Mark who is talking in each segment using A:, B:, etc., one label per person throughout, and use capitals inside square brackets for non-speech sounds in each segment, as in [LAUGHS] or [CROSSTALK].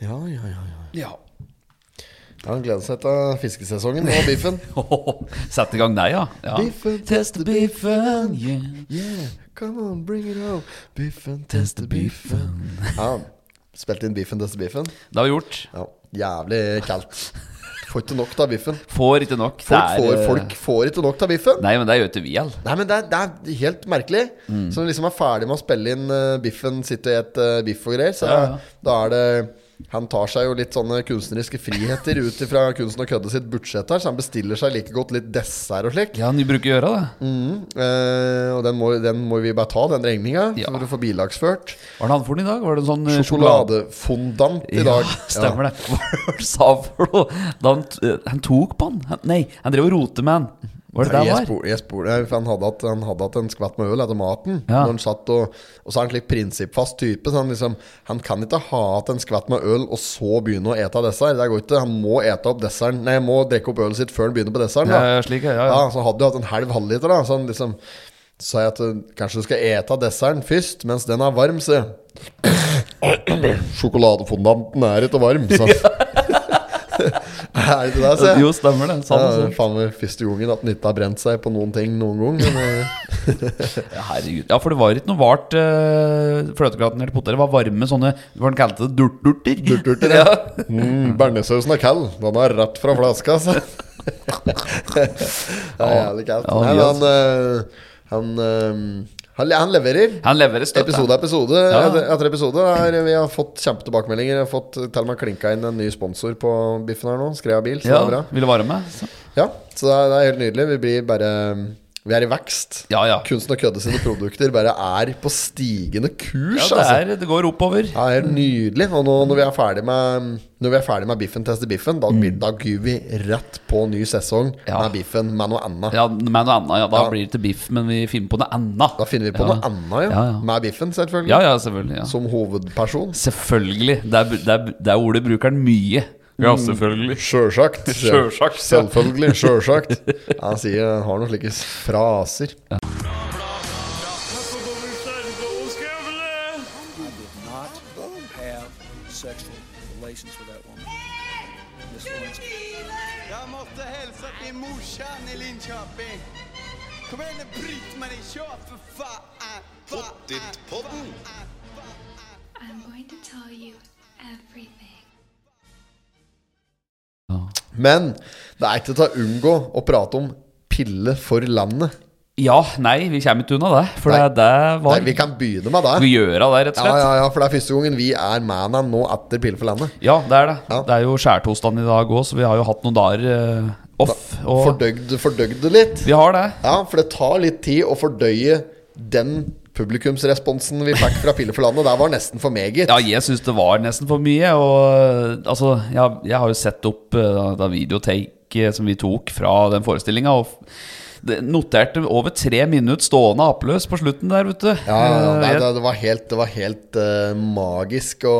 A: Ja, ja, ja, ja.
B: Ja.
A: Han gleder seg til fiskesesongen og biffen.
B: [LAUGHS] Sette i gang deg, ja. ja.
A: Biffen,
B: Test the beefen, yeah.
A: [LAUGHS] Yeah, come on, bring it home. Biffen, teste biffen. Ja, [LAUGHS] Spilte inn biffen, teste biffen.
B: Det har vi gjort.
A: Ja, Jævlig kaldt. Får ikke nok av biffen.
B: Får ikke nok. Det
A: Folk,
B: er,
A: får,
B: eh,
A: folk får ikke nok av biffen.
B: Nei, men det gjør ikke vi all.
A: Nei, men det er, det er helt merkelig.
B: Mm.
A: Så når du liksom er ferdig med å spille inn eh, biffen, sitte og et eh, biff og greier, så
B: Ja, ja.
A: da er det han tar seg jo litt sånne kunstneriske friheter ut ifra kunsten og kødde sitt budsjett her, så han bestiller seg like godt litt dessert og slik.
B: Ja, du bruker å gjøre det.
A: Eh, og den må, den må vi bare ta, den regninga,
B: Ja.
A: for å få bilagsført.
B: Var det han for den i dag? Var det en sånn eh,
A: Sjokoladefondant i dag.
B: Ja, [LAUGHS] stemmer det. Hva sa han for noe? Da han, t- eh, han tok på han? han? Nei, han drev og rotet med han. Var det
A: Nei,
B: det
A: jeg
B: han var?
A: spor, jeg spor, nei, for han, hadde hatt, han hadde hatt en skvatt med øl etter maten.
B: Ja.
A: Når han satt og, og så er han slik prinsippfast type. Så han, liksom, han kan ikke ha hatt en skvatt med øl og så begynne å ete av dessert. Det går ikke. Han må ete opp desserten Nei, han må drikke opp ølet sitt før han begynner på desserten. Da.
B: Ja, ja, slik, ja, ja.
A: Ja, så hadde du hatt en halv halvliter, da. Så han liksom sa jeg at eh, kanskje du skal ete av desserten først, mens den er varm, så
B: [COUGHS]
A: Sjokoladefondanten er ikke varm, sa han.
B: [LAUGHS]
A: er det ikke det, sier jeg?
B: Jo, stemmer det. Sånn,
A: ja,
B: så.
A: faen meg første gangen at den ikke har brent seg på noen ting noen gang. Men, eh,
B: Ja, herregud. Ja, for det var ikke noe vart uh, fløtegratin eller poteter. Det var varme sånne Hva var det han kalte det? Durtdurter? [LAUGHS]
A: Durtdurter,
B: ja.
A: mm, Bernesausen er kald. Den er rett fra flaska, altså. [LAUGHS] det er jævlig kaldt.
B: Ja,
A: Nei, men
B: yes.
A: han, eh, han, eh, han, han leverer.
B: Han leverer støtte.
A: Episode episode
B: Ja.
A: etter etter episode. Er, eh, vi har fått kjempetilbakemeldinger. Vi har fått eh, til og med klinka inn en ny sponsor på Biffen her nå. Skrea bil, så
B: Ja,
A: det er bra.
B: ville være med. Så.
A: Ja, så det er, det er helt nydelig. Vi blir bare Vi er i vekst.
B: Ja, ja.
A: Kunsten og kødde sine produkter bare er på stigende
B: ja
A: kurs,
B: det,
A: altså.
B: er, det går oppover.
A: Ja, det er helt nydelig. Og nå, når vi er ferdig med Når vi er ferdig med Biffen tester biffen, da, blir- da gyr vi rett på ny sesong
B: Mm. Ja.
A: med Biffen med noe annet.
B: Ja, med noe annet. Ja, da
A: Ja.
B: blir det til biff, men vi finner på noe annet.
A: Da finner vi på
B: ja.
A: noe annet, jo.
B: Ja, ja.
A: Med Biffen, selvfølgelig.
B: Ja, ja, selvfølgelig. Ja.
A: Som hovedperson.
B: Selvfølgelig. Det er, det er, det er ordet bruker den mye. Ja, selvfølgelig.
A: Sjølsagt.
B: [LAUGHS] Sjølsagt, ja.
A: Selvfølgelig. Sjølsagt. Han sier han har noen slike fraser.
C: not have sexual relations with that woman. Miss Lewinsky.
D: Jeg måtte hilse til morsan i Linköping. Kom igjen, Britt-Marie, kjør, for faen! Pottit-podden.
E: I'm going to tell you everything.
A: Men det er ikke til å unngå å prate om pille for landet.
B: Ja, nei, vi kommer ikke unna det. For
A: Nei.
B: det, det
A: Nei,
B: var
A: vi kan begynne med
B: Vi
A: det.
B: gjør av det, rett og
A: Ja,
B: slett.
A: ja, ja, for det er første gangen vi er man han nå etter Pille for landet.
B: Ja, det er det.
A: Ja.
B: Det er jo skjærtorsdagen i dag òg, så vi har jo hatt noen dager eh, off. Og
A: Fordøyd, fordøyd det litt.
B: vi har det.
A: Ja, for det tar litt tid å fordøye den publikumsresponsen vi fikk fra Pille for landet. Der var nesten for meget.
B: Ja, jeg syns det var nesten for mye. Og altså, jeg, jeg har jo sett opp eh, da videotake eh, som vi tok fra den forestillinga, og f- det noterte over tre minutter stående apeløs på slutten der, vet du.
A: Ja, ja, ja. Nei,
B: Eh, jeg-
A: det, det var helt, det var helt eh, magisk å,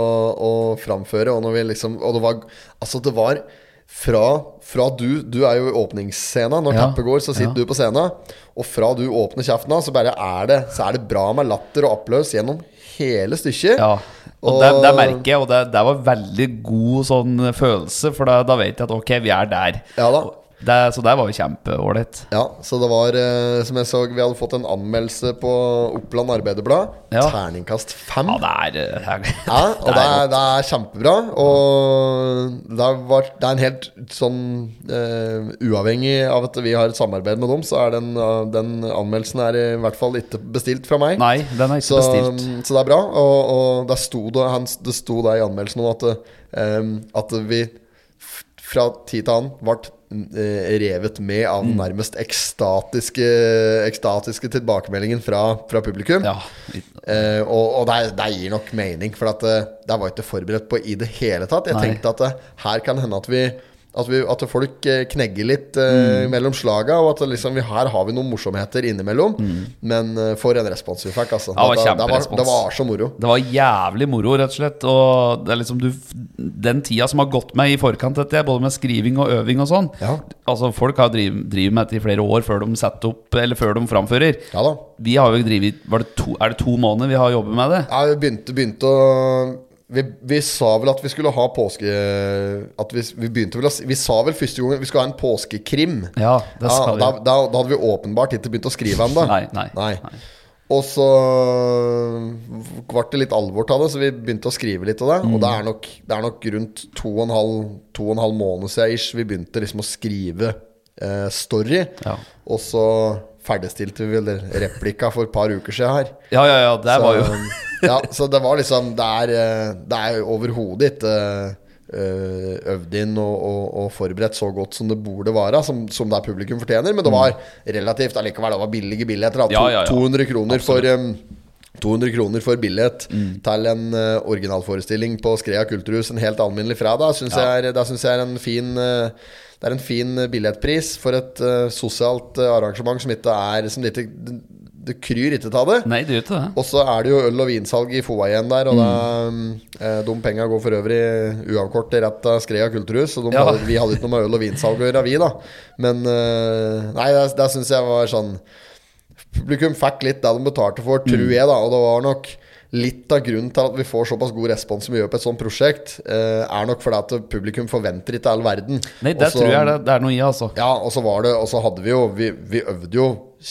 A: å framføre. Og, når vi liksom, og det var Altså, det var fra, fra du Du er jo i åpningsscena. Når
B: Ja,
A: teppet går, så sitter
B: ja.
A: du på scenen. Og fra du åpner kjeften av, så bare er det Så er det bra med latter og applaus gjennom hele stykket.
B: Ja. Og det, det merker jeg, og det, det var veldig god sånn følelse, for da, da vet jeg at ok, vi er der.
A: Ja da.
B: Det, så det var jo kjempeålreit.
A: Ja, så det var eh, Som jeg så, vi hadde fått en anmeldelse på Oppland Arbeiderblad.
B: Ja.
A: Terningkast fem.
B: Ja,
A: Ja,
B: det er eh, [LAUGHS]
A: og det er, det er kjempebra. Og det, var, det er en helt sånn eh, Uavhengig av at vi har et samarbeid med dem, så er den, eh, den anmeldelsen er i hvert fall ikke bestilt fra meg.
B: Nei, den er ikke
A: Så, um,
B: bestilt.
A: så det er bra. Og, og der sto det, han, det sto der i anmeldelsen om at, eh, at vi f- fra tid til annen ble eh, revet med av
B: Mm.
A: den nærmest ekstatiske, ekstatiske tilbakemeldingen fra, fra publikum.
B: Ja, litt-
A: Eh, og og det, er- det gir nok mening, for at, eh, det var jeg ikke forberedt på i det hele tatt. Jeg
B: Nei.
A: tenkte at eh, her kan hende at vi at, vi, at folk eh, knegger litt eh,
B: Mm.
A: mellom slaga, og at det liksom, vi, her har vi noen morsomheter innimellom. Men eh, for en respons vi fikk, altså.
B: Mm. Ja, det
A: det,
B: var
A: var,
B: kjemperespons.
A: det var så moro.
B: Det var jævlig moro, rett og slett. Og det er liksom du, den tida som har gått meg i forkant, dette, her, både med skriving og øving og sånn
A: Ja.
B: Altså Folk har driv- drevet med dette i flere år før de setter opp Eller før de framfører.
A: Ja da.
B: Vi har jo drevet var det to, Er det to måneder vi har jobbet med det?
A: Ja, vi begynte, begynte å vi, vi sa vel at vi skulle ha påske... At vi, vi begynte vel å si Vi sa vel første gangen vi skulle ha en påskekrim.
B: Ja, det
A: Ja,
B: sa
A: og
B: vi.
A: da, da, da hadde vi åpenbart ikke begynt å skrive ennå.
B: Nei, nei, nei.
A: Og så ble det litt alvor av det, så vi begynte å skrive litt av det. Og
B: Mm.
A: det er nok, det er nok rundt to og en halv, to og en halv måned siden ish, vi begynte liksom å skrive eh, story.
B: Ja.
A: Og så ferdigstilte vi vel replika for et par uker siden her.
B: Ja, ja, ja, det
A: så, um,
B: var jo [LAUGHS]
A: ja, så det var liksom Det er, eh, det er overhodet ikke eh, øvd inn og, og, og forberedt så godt som det burde være, som, som det er publikum fortjener. Men det var relativt allikevel, det var billige billetter. da. To,
B: Ja, ja, ja.
A: 200 kroner for em, 200 kroner for billett
B: Mm.
A: til en eh, originalforestilling på Skrea kulturhus en helt alminnelig fredag, syns jeg, er- det synes jeg er en fin eh, det er en fin eh, billettpris for et eh, sosialt eh, arrangement som ikke er som det, ikke, det, det kryr ikke av det.
B: Nei, det gjør ikke det.
A: Og så er det jo øl- og vinsalg i FOA igjen der, og
B: Mm.
A: da, eh, de penga går for øvrig uavkortet rett av Skrea kulturhus, så de
B: Ja.
A: hadde, vi hadde ikke noe med øl og vinsalg å gjøre, vi, da. Men eh, nei, det, det syns jeg var sånn Publikum fikk litt det de betalte for,
B: Mm.
A: tror jeg, da, og det var nok Litt av grunnen til at vi får såpass god respons som vi gjør på et sånt prosjekt, eh, er nok fordi at publikum forventer ikke all verden.
B: Nei, det
A: Og så-
B: tror jeg det, det er noe i, altså.
A: ja, og så var det Og så hadde vi jo Vi, vi øvde jo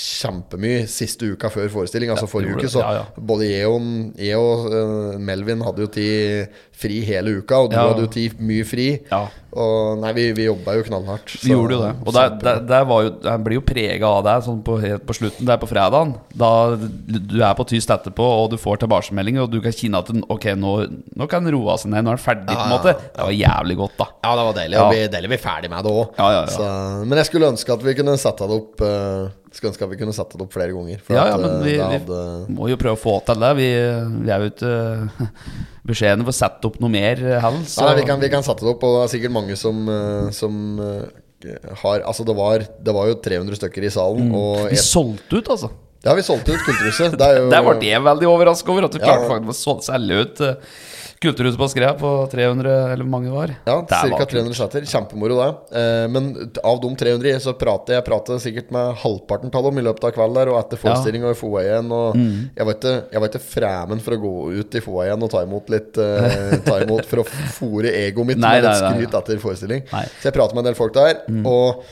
A: kjempemye siste uka før forestilling, altså forrige
B: gjorde
A: uke.
B: det.
A: Så
B: Ja, ja.
A: både jeg og, jeg og eh, Melvin hadde jo tid fri hele uka, og du
B: Ja.
A: hadde jo tid mye fri.
B: Ja.
A: Og nei, vi, vi jobba jo knallhardt.
B: Vi gjorde jo det. Og det, det,
A: kjempebra.
B: det var jo, jeg blir jo prega av det sånn på, helt på slutten der på fredagen. Da du er på tyst etterpå, og du får tilbakemeldinger, og du kan kjenne at den- Ok, nå, nå kan den roe seg ned. Nå er den ferdig, på en måte. Det var jævlig godt, da.
A: ja, det var deilig.
B: Ja.
A: Og vi deilig vi er ferdig med det òg.
B: Ja, ja, ja.
A: Men jeg skulle ønske at vi kunne sette det opp eh, Skulle ønske at vi kunne sette det opp flere ganger. For
B: Ja,
A: at,
B: ja, men
A: eh,
B: vi,
A: det
B: vi må jo prøve å få til det. Vi, vi er jo ikke [LAUGHS] beskjedne for å sette opp noe mer eh, heller.
A: Nei, nei, vi, kan, vi kan sette det opp, og det er sikkert mange som, eh, som eh, har Altså, det var, det var jo 300 stykker i salen, og
B: Mm. Vi
A: et,
B: solgte ut, altså.
A: det har vi solgt ut, Kulturhuset. Det er jo
B: Der ble jeg veldig overraska over at du
A: Ja.
B: klarte faktisk å sol- selge ut eh, Kulturhuset på Skrea på 300, eller hvor mange det var.
A: ja,
B: Det var
A: ca.
B: kult.
A: 300 seter. Kjempemoro, det. Eh, Men av de 300 i, så prater jeg prater sikkert med halvparten av dem i løpet av kvelden der, og etter forestilling og i FOA igjen. Og
B: Mm.
A: jeg, var ikke, jeg var ikke fremmed for å gå ut i FOA igjen og ta imot litt eh, Ta imot for å fòre egoet mitt
B: [LAUGHS] Nei,
A: med litt
B: nei, nei,
A: skryt etter forestilling.
B: Nei. Mm.
A: Så jeg prater med en del folk der, og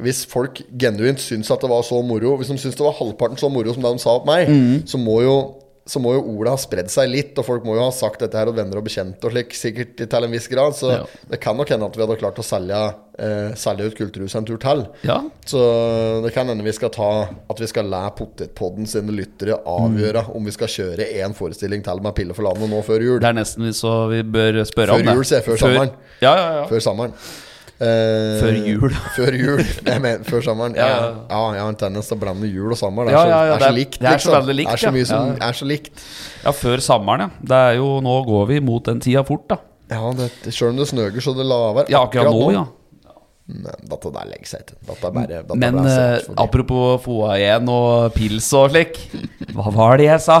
A: hvis folk genuint syns at det var så moro Hvis de syns det var halvparten så moro som det de sa om meg,
B: Mm.
A: så må jo så må jo ordet ha spredd seg litt, og folk må jo ha sagt dette her, og venner og bekjente og slik, sikkert til en viss grad. Så
B: Ja.
A: det kan nok hende at vi hadde klart å selge, eh, selge ut Kulturhuset en tur til.
B: Ja.
A: Så det kan hende vi skal ta at vi skal la Potetpodden sine lyttere avgjøre om vi skal kjøre én forestilling til med Pille for landet nå før jul.
B: Det er nesten vi- så vi bør spørre
A: Før
B: om det.
A: jul, sier jeg, før sommeren.
B: Ja, ja, ja.
A: Før sommeren. Eh,
B: Før jul.
A: [LAUGHS] før jul, jeg mener, før sommeren. Ja,
B: Ja,
A: ja.
B: ja.
A: jeg har en tendens til å blande jul og sommer. Det er
B: Ja,
A: så,
B: ja,
A: er
B: ja,
A: så
B: det er-
A: likt,
B: det er så
A: liksom.
B: veldig likt,
A: Det er så
B: ja.
A: mye som
B: Ja, ja.
A: er så likt.
B: ja, før sommeren, ja. Det er jo, nå går vi mot den tida fort, da.
A: Ja, det, selv om det snøger så det laver
B: Ja, akkurat nå, ja.
A: Nei, dette der legger seg ikke. Dette er bare dette er
B: Men
A: bare
B: eh,
A: sett forbi.
B: apropos FOA igjen og pils og slik. Hva var det jeg sa?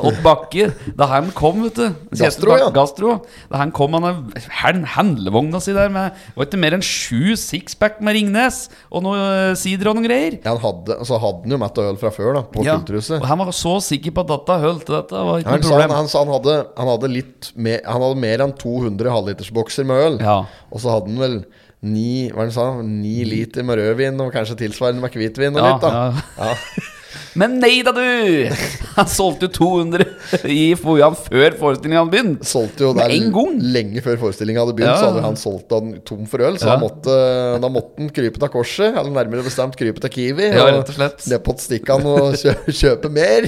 B: Odd Bakke. Da han kom, vet du. Kjetil
A: Gastro, ja.
B: Bak- Gastro. Da han kom, han har handlevogna si der med Det var ikke mer enn sju sixpack med Ringnes og noe eh, sider og noen greier.
A: ja, han hadde, så hadde han jo mett og øl fra før, da, på
B: Ja,
A: Kulturhuset.
B: Og han var så sikker på at dette holdt. Dette var ikke
A: Han
B: noe
A: sa, han,
B: problem.
A: han sa han hadde, han hadde litt mer Han hadde mer enn 200 halvlitersbokser med øl.
B: Ja.
A: Og så hadde han vel ni, hva er det han sa, ni liter med rødvin og kanskje tilsvarende med hvitvin og
B: Ja,
A: litt, da. Ja.
B: [LAUGHS] Men nei da, du! Han solgte jo 200 i FOA før forestillingen hadde begynt.
A: Solgte jo
B: Med
A: der
B: en gang.
A: lenge før forestillingen hadde begynt,
B: Ja.
A: så hadde han solgt han tom for øl. Så
B: Ja.
A: da, måtte, da måtte han krype til korset, eller nærmere bestemt krype til Kiwi.
B: Ja, rett og slett.
A: stikke han og kjø [LAUGHS] kjøpe mer.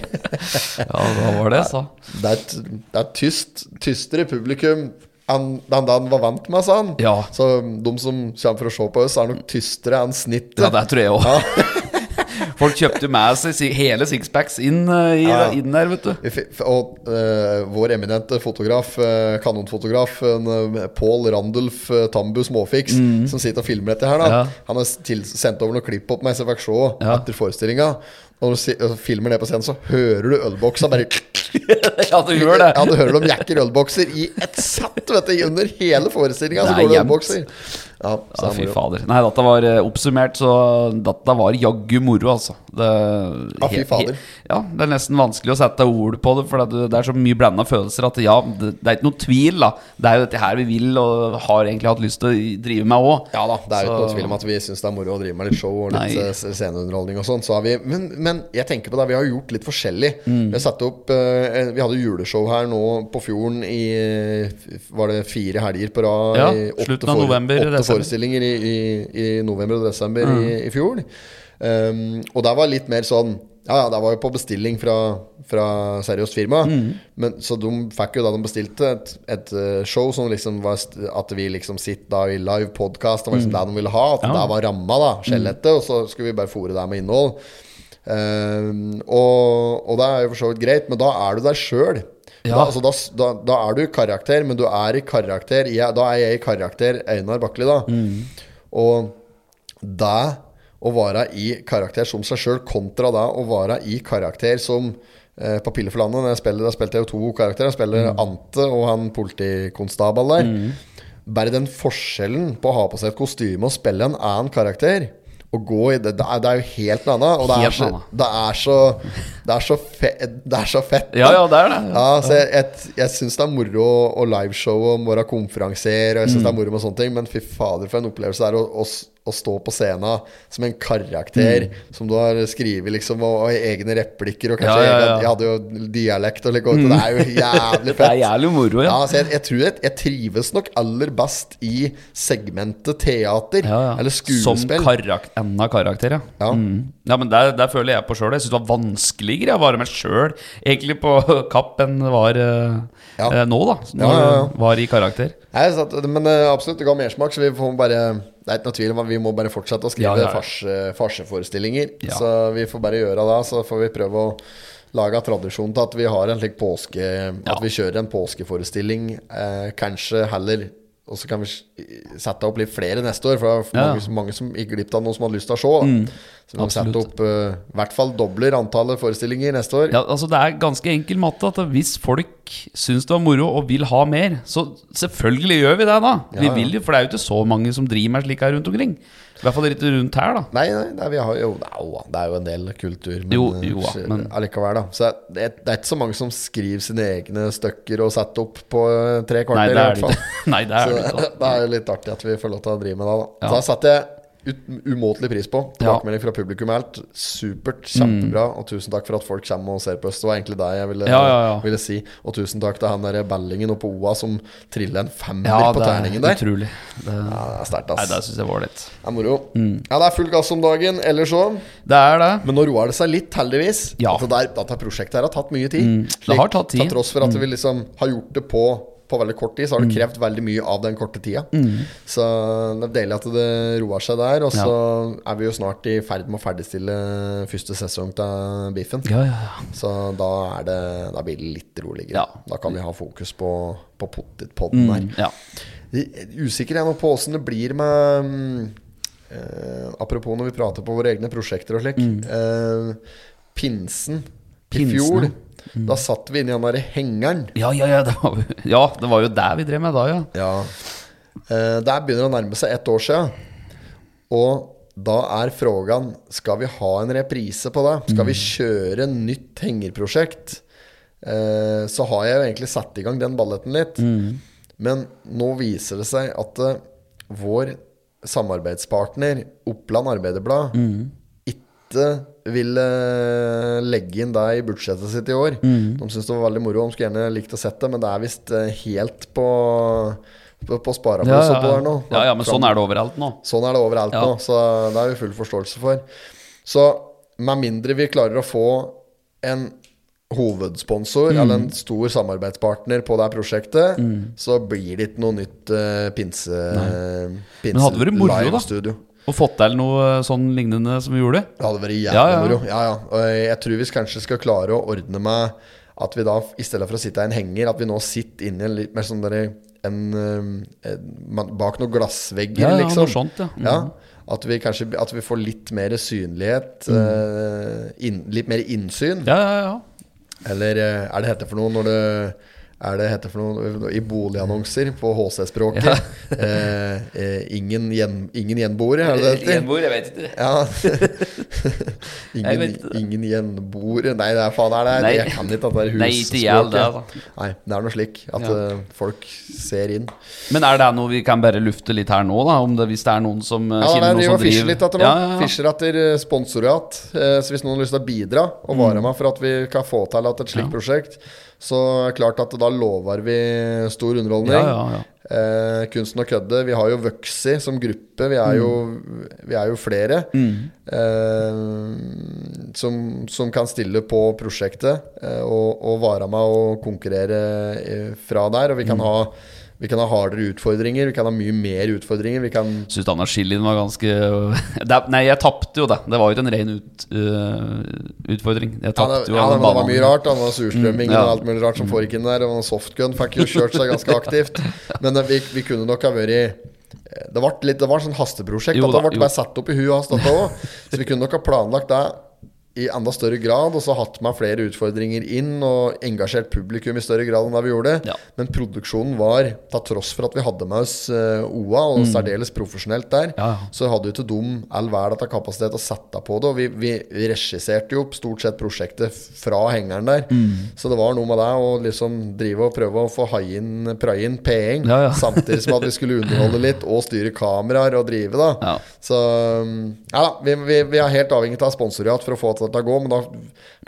B: Ja, da var det, sa
A: Det er, et- det er et tyst, tystere publikum enn enn det han var vant med, sa han.
B: Ja.
A: Så de som kommer for å se på oss, er nok tystere enn snittet.
B: Ja, det tror jeg òg. [LAUGHS] Folk kjøpte jo med seg si- hele sixpacks inn, eh, i,
A: Ja, ja.
B: inn der, vet du.
A: Vi fi- f- Og eh, vår eminente fotograf, eh, kanonfotograf, uh, Pål Randulf eh, Tambu Småfiks, som sitter og filmer dette her, da.
B: Mm. Ja.
A: Han har s- til, sendt over noen klipp opp meg, så jeg fikk se
B: Ja.
A: etter forestillinga. Og når du si, og filmer det på scenen, så hører du ølboksa bare
B: Ja, [LAUGHS] du gjør det.
A: Ja, du hører de jekker ølbokser i ett sett, vet du. Under hele forestillinga så
B: Det er
A: går det
B: jevnt.
A: ølbokser. Ja, så
B: Ja,
A: det er
B: fy
A: moro.
B: fader. Nei, dette var eh, oppsummert, så dette var jaggu moro, altså. Det,
A: Ja, fy
B: he- he-
A: fader.
B: Ja, det er nesten vanskelig å sette ord på det, for det, det er så mye blanda følelser at ja, det, det er ikke noe tvil, da. Det er jo dette her vi vil, og har egentlig hatt lyst til å drive med òg.
A: Ja da, det er jo ikke
B: Så-
A: noen tvil om at vi syns det er moro å drive med litt show og litt
B: Nei.
A: eh, sceneunderholdning og sånn. Så har vi, men, men jeg tenker på det, vi har gjort litt forskjellig.
B: Mm.
A: Vi, har satt opp, eh, en- vi hadde juleshow her nå på fjorden i eh, Var det fire helger på rad?
B: Ja,
A: i åtte
B: slutten av
A: fore-
B: november,
A: Åtte
B: desember.
A: forestillinger i, i, i november og desember i, i fjor. Um, og der var litt mer sånn Ja, ja, det var jo på bestilling fra, fra seriøst firma. Men, så de fikk jo da de bestilte et, et eh, show som liksom var st- At vi liksom sitter da i live podkast. Det var liksom det de ville ha. At det var ramma, da. Skjelettet. Og så skulle vi bare fòre det med innhold. Um, og, og det er jo for så vidt greit, men da er du deg sjøl.
B: Ja.
A: Da, altså, da, s- da, da er du i karakter, men du er i karakter jeg, Da er jeg i karakter Einar Bakli, da. Og det å være i karakter som seg sjøl, kontra det å være i karakter som eh, på Pille for landet. Når jeg spiller, der spilte jeg jo to karakterer. Jeg
B: Mm.
A: spiller Ante og han politikonstabel der. Bare den forskjellen på å ha på seg et kostyme og spille en annen karakter og gå i det, det, er, det er jo helt noe annet. Og det er
B: Helt
A: så,
B: annet.
A: det er så, det er så, fe, det er så fett.
B: Ja,
A: da.
B: ja, det er det.
A: Ja, så jeg, jeg, jeg syns det er moro å liveshow og være konferansier, og jeg synes det er
B: Mm.
A: moro med sånne ting, men fy fader, for en opplevelse det er å, å, s- å stå på scenen som en karakter som du har skrevet, liksom, og, og egne replikker, og kanskje
B: Mm. Ja, ja, ja. Mm.
A: Jeg, hadde jo dialekt og like, og det er jo jævlig
B: [LAUGHS] Det
A: fett.
B: er jævlig moro, ja.
A: Ja, så jeg, jeg tror jeg, jeg trives nok aller best i segmentet teater,
B: Ja, ja.
A: eller skuespill.
B: Som karak enda karakter, ja.
A: Ja.
B: Mm. ja men der, der føler jeg på sjøl. Jeg syns det var vanskeligere å være meg sjøl egentlig på [LAUGHS] Kapp enn det var eh,
A: Ja.
B: eh, nå, da. Når
A: Ja, ja, ja.
B: du var i karakter.
A: Nei, så at, men eh, absolutt, det ga mersmak, så vi får bare Det er ikke noe tvil om at vi må bare fortsette å skrive
B: Ja, ja, ja.
A: farse- farseforestillinger.
B: Ja.
A: Så vi får bare gjøre det, så får vi prøve å lage tradisjon til at vi har en slik påske
B: Ja.
A: At vi kjører en påskeforestilling, eh, kanskje heller og så kan vi s- sette opp litt flere neste år, for det er
B: Ja. Mm.
A: mange, mange som gikk glipp av noen som hadde lyst til å se. da. så vi må
B: absolutt.
A: sette opp eh, i hvert fall dobler antallet forestillinger neste år.
B: Ja, altså Det er ganske enkel matte. at Hvis folk syns det var moro og vil ha mer, så selvfølgelig gjør vi det da. Vi
A: Ja, ja.
B: vil jo, For det er jo ikke så mange som driver med slik her rundt omkring. I hvert fall litt rundt her, da.
A: Nei, nei, nei vi har jo, det, er jo, det er jo en del kultur, men,
B: Jo, jo, ja,
A: eh,
B: men-
A: allikevel, da. Så det, er- det er ikke så mange som skriver sine egne stykker og setter opp på eh, tre
B: Nei,
A: kvarter,
B: det
A: i
B: er
A: hvert
B: det
A: fall.
B: ikke. [LAUGHS] Nei, det er
A: Så [LAUGHS]
B: det ikke. da.
A: det er jo litt artig at vi får lov til å drive med det, da.
B: Ja.
A: Da setter jeg ut, umåtelig pris på.
B: Ja. Mm.
A: Tilbakemelding fra publikum er helt supert, kjempebra. Og tusen takk for at folk kommer og ser på oss. Det var egentlig det jeg ville,
B: Ja, ja, ja.
A: ville si. Og tusen takk til han derre Bellingen oppe på OA som triller en femmer
B: Ja,
A: på
B: det
A: terningen
B: er
A: der.
B: utrolig. Det,
A: Ja, det er sterkt,
B: nei,
A: ass.
B: det Mm. syns jeg var litt
A: Det er moro. Ja, det er full gass om dagen. Ellers så
B: Det er det.
A: Men nå roer det seg litt, heldigvis.
B: Ja. Mm.
A: At det der, dette prosjektet her har tatt mye tid.
B: det har tatt tid. Mm.
A: Til tross for at vi liksom har gjort det på, på veldig kort tid, så har det krevd veldig mye av den korte tida.
B: Mm.
A: Så det er deilig at det roer seg der. Og så er vi jo snart i ferd med å ferdigstille første sesong av Biffen.
B: Ja, ja, ja.
A: Så da, er det, da blir det litt roligere.
B: Ja.
A: Da kan vi ha fokus på, på potetpodden her.
B: Mm, Ja.
A: Usikker jeg nå på åssen det blir med mm, eh, Apropos når vi prater på våre egne prosjekter og slik. Eh, pinsen i
B: Mm. Pinsen,
A: fjor,
B: ja. Mm.
A: da satt vi inni den derre hengeren.
B: Ja, ja, [LAUGHS] ja, det var, ja, det var jo der vi drev med da, ja.
A: Eh, der begynner det å nærme seg ett år sia. Og da er frågan Skal vi ha en reprise på det. Skal
B: Mm.
A: vi kjøre nytt hengerprosjekt? Eh, så har jeg jo egentlig satt i gang den balletten litt.
B: Mm.
A: Men nå viser det seg at eh, vår samarbeidspartner Oppland Arbeiderblad
B: Mm.
A: ikke ville eh, legge inn det i budsjettet sitt i år.
B: Mm.
A: De syntes det var veldig moro, de skulle gjerne likt å sett det, men det er visst eh, helt på på, på spareplass
B: Ja, ja,
A: oppå der nå.
B: ja. ja, ja men sånn er det overalt nå.
A: Sånn er det overalt
B: Ja.
A: nå, så det er vi full forståelse for. Så med mindre vi klarer å få en hovedsponsor eller
B: Mm.
A: en stor samarbeidspartner på det her prosjektet, så blir det ikke noe nytt eh, pinse, pinse
B: Men hadde vært moro, da.
A: studio.
B: Og fått til noe sånn lignende som vi gjorde.
A: Det hadde vært jævlig
B: Ja, ja.
A: moro. Ja, ja. Og jeg- jeg tror vi kanskje skal klare å ordne med at vi da, i stedet for å sitte i en henger, at vi nå sitter inne i en litt mer sånn derre en, um, en, man- Bak noen glassvegger,
B: Ja, ja,
A: liksom.
B: noe sånt, ja. Mhm.
A: ja. At vi kanskje at vi får litt mer synlighet, eh, inn, litt mer innsyn.
B: Mhm. Ja, ja, ja.
A: Eller eh, er det hette for noe når det er det heter for noe i boligannonser på HC-språket. eh, eh, ingen, gjen, ingen gjenboere, er
B: [LAUGHS]
A: det det heter?
B: Gjenboer, jeg vet ikke.
A: Ja.
B: [LAUGHS] Jeg vet
A: ingen,
B: ikke det.
A: ingen gjenboere Nei, det er faen er det
B: Nei.
A: Jeg kan ikke at det er
B: Nei, ikke jeg, det, altså.
A: husspråket. Nei, det er noe slik at
B: Ja.
A: eh, folk ser inn.
B: Men er det noe vi kan bare lufte litt her nå, da? Om det, hvis det er noen som eh,
A: Ja,
B: kjenner
A: der
B: noen
A: driver
B: som
A: og fisher litt etter nå.
B: Ja, ja, ja.
A: Fisher etter eh, sponsorat. Eh, Så hvis noen har lyst til å bidra og være med for at vi kan få til at et slikt
B: Mm. Ja.
A: prosjekt, så er det klart at da lover vi stor underholdning.
B: Ja, ja, ja.
A: Eh, kunsten å kødde. Vi har jo Vøxi som gruppe. Vi er jo,
B: Mm.
A: vi er jo flere eh, som, som kan stille på prosjektet eh, og, og være med og konkurrere eh, fra der. Og vi
B: Mm.
A: kan ha vi kan ha hardere utfordringer, vi kan ha mye mer utfordringer. Vi kan
B: Syns Anna Schillin var ganske [LAUGHS] det, er- Nei, jeg tapte jo det. Det var jo ikke en ren ut, øh, utfordring. Jeg
A: Ja, det,
B: tapte jo
A: ja,
B: alle
A: men det var
B: banene.
A: mye rart. da. Det var surstrømming
B: Mm, ja.
A: og alt mulig rart som foregikk inn der. Og den softgun fikk jo kjørt seg ganske
B: [LAUGHS]
A: aktivt. Men eh, vi, vi kunne nok ha vært eh, det var, litt, det var sånn hasteprosjekt.
B: Jo
A: at det
B: da,
A: ble
B: jo.
A: bare satt opp i huet og hastet på også. Så vi kunne nok ha planlagt det i enda større grad, og så hatt med flere utfordringer inn, og engasjert publikum i større grad enn det vi gjorde.
B: Ja.
A: Men produksjonen var, til tross for at vi hadde med oss eh, OA, og
B: Mm.
A: særdeles profesjonelt der,
B: Ja, ja.
A: så hadde jo ikke de all verden av kapasitet å sette på det. Og vi, vi regisserte jo stort sett prosjektet fra hengeren der.
B: Mm.
A: Så det var noe med det å liksom drive og prøve å få haie inn, praie inn penger,
B: Ja, ja.
A: samtidig som at vi skulle underholde litt og styre kameraer og drive, da.
B: [LAUGHS] Ja.
A: Så um, ja da, vi, vi, vi er helt avhengig av sponsorat for å få dette til å gå, men da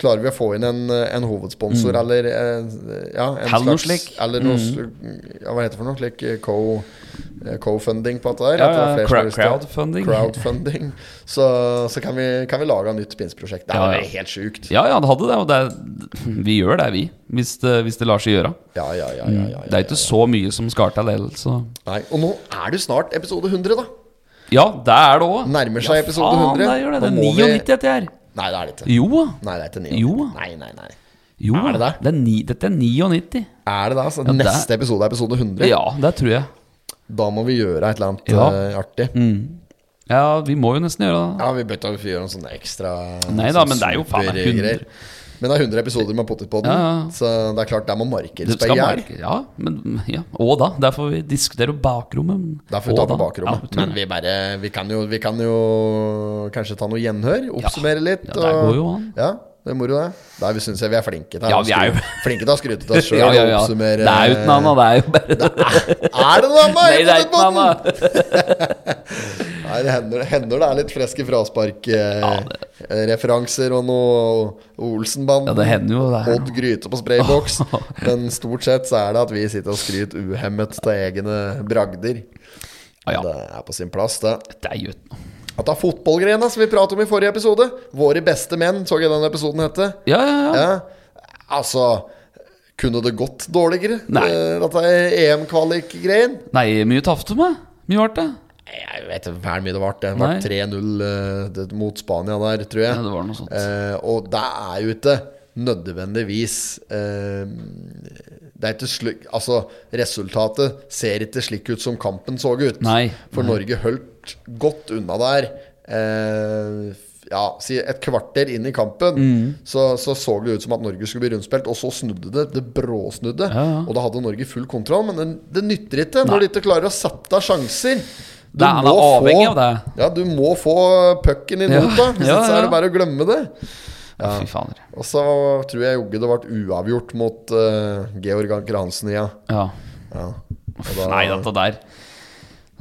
A: klarer vi å få inn en, eh, en hovedsponsor eller eh, ja, en
B: Eller Mm. noe slik. Mm.
A: Eller noe sl- ja, hva heter det for noe? Slik eh, co, eh, co-funding på dette der.
B: Ja,
A: at det er
B: ja,
A: flere som har
B: crowd-
A: lyst til-
B: crowdfunding.
A: crowdfunding. Så, så kan, vi, kan vi lage et nytt spinnprosjekt. Det
B: Ja,
A: er
B: ja.
A: jo helt sjukt.
B: Ja, ja, det hadde det. Og det er, vi gjør det, vi. Hvis det, hvis det lar seg gjøre.
A: Ja, ja, ja, ja, ja,
B: Mm. Det er ikke så mye som skal til, ellers, så
A: Nei, og nå er det jo snart episode 100, da.
B: Ja, det er det òg.
A: Nærmer seg episode 100.
B: det gjør det. Det
A: Nå
B: er
A: må
B: 99
A: vi...
B: dette her.
A: Nei, det er det ikke.
B: Jo da.
A: Nei, det er ikke 99.
B: Jo.
A: Nei, nei, nei.
B: Jo,
A: Er det det?
B: er ni, dette er 99.
A: Er det da? Så
B: Ja, det-
A: neste episode er episode 100.
B: Ja, det tror jeg.
A: Da må vi gjøre et eller annet
B: Ja. Mm.
A: eh, artig.
B: Ja, vi må jo nesten gjøre det.
A: Ja, vi bør ikke gjøre noen sånne ekstra
B: Nei da, men det er jo faen meg 100.
A: supergreier. Men det er 100 episoder med Pottipodden,
B: Ja, ja.
A: så det er klart det må
B: Det
A: markeres på
B: skal
A: gjær.
B: merke, ja, men ja. Og da. Der får vi diskutere bakrommet.
A: Der får vi ta
B: Og
A: på
B: da.
A: bakrommet.
B: Ja, tror
A: men
B: jeg.
A: vi, bare, vi, kan jo, vi kan jo kanskje ta noe gjenhør, oppsummere litt.
B: Ja, der går jo an.
A: Ja, det er moro, det. Der syns jeg vi er flinke til
B: Ja,
A: å
B: vi er jo-
A: skryte- flinke til å skryte
B: [LAUGHS]
A: av oss sjøl
B: ja, ja, ja.
A: og oppsummere
B: Det er jo ikke noe annet, det er jo bare det.
A: Er det noe annet?
B: [LAUGHS]
A: Pottipodden?
B: Nei, det er ikke noe annet.
A: Nei, det hender, hender det er litt freske frasparkreferanser og noe Olsenband.
B: Ja, det hender jo det her
A: Odd Gryte på
B: [LAUGHS]
A: sprayboks. Men stort sett så er det at vi sitter og skryter uhemmet av egne bragder.
B: Ja, ja.
A: Det er på sin plass, det.
B: Det er jo ikke noe.
A: At det er fotballgrena som vi pratet om i forrige episode. Våre beste menn, så jeg den episoden hette.
B: Ja, ja, ja.
A: Ja. Altså Kunne det gått dårligere?
B: Nei.
A: Eh, Dette EM-kvalik-greien?
B: Nei, mye tafte meg. Mye vart det.
A: Jeg vet ikke hvor mye det ble. Det ble
B: Nei.
A: 3-0 eh, det- mot Spania der, tror jeg.
B: Ja, det var noe sånt.
A: Eh, og det er jo ikke nødvendigvis eh, Det er ikke slik Altså, resultatet ser ikke slik ut som kampen så ut.
B: Nei,
A: For Norge holdt godt unna der. Eh, ja, si et kvarter inn i kampen
B: Mm.
A: så, så så det ut som at Norge skulle bli rundspilt, og så snudde det. Det bråsnudde.
B: Ja, ja.
A: Og da hadde Norge full kontroll, men det, det nytter ikke når de ikke klarer å sette av sjanser. Du
B: Det er- han er
A: må
B: avhengig
A: få-
B: av det.
A: Ja, du må få pucken i
B: Ja,
A: nota,
B: [LAUGHS]
A: hvis
B: ja,
A: ikke så er
B: ja.
A: det bare å glemme det.
B: Ja. Fy fader.
A: Og så tror jeg jogge det ble uavgjort mot eh, Georg Anker Hansen, ja.
B: Ja.
A: ja. Og da-
B: Nei, dette der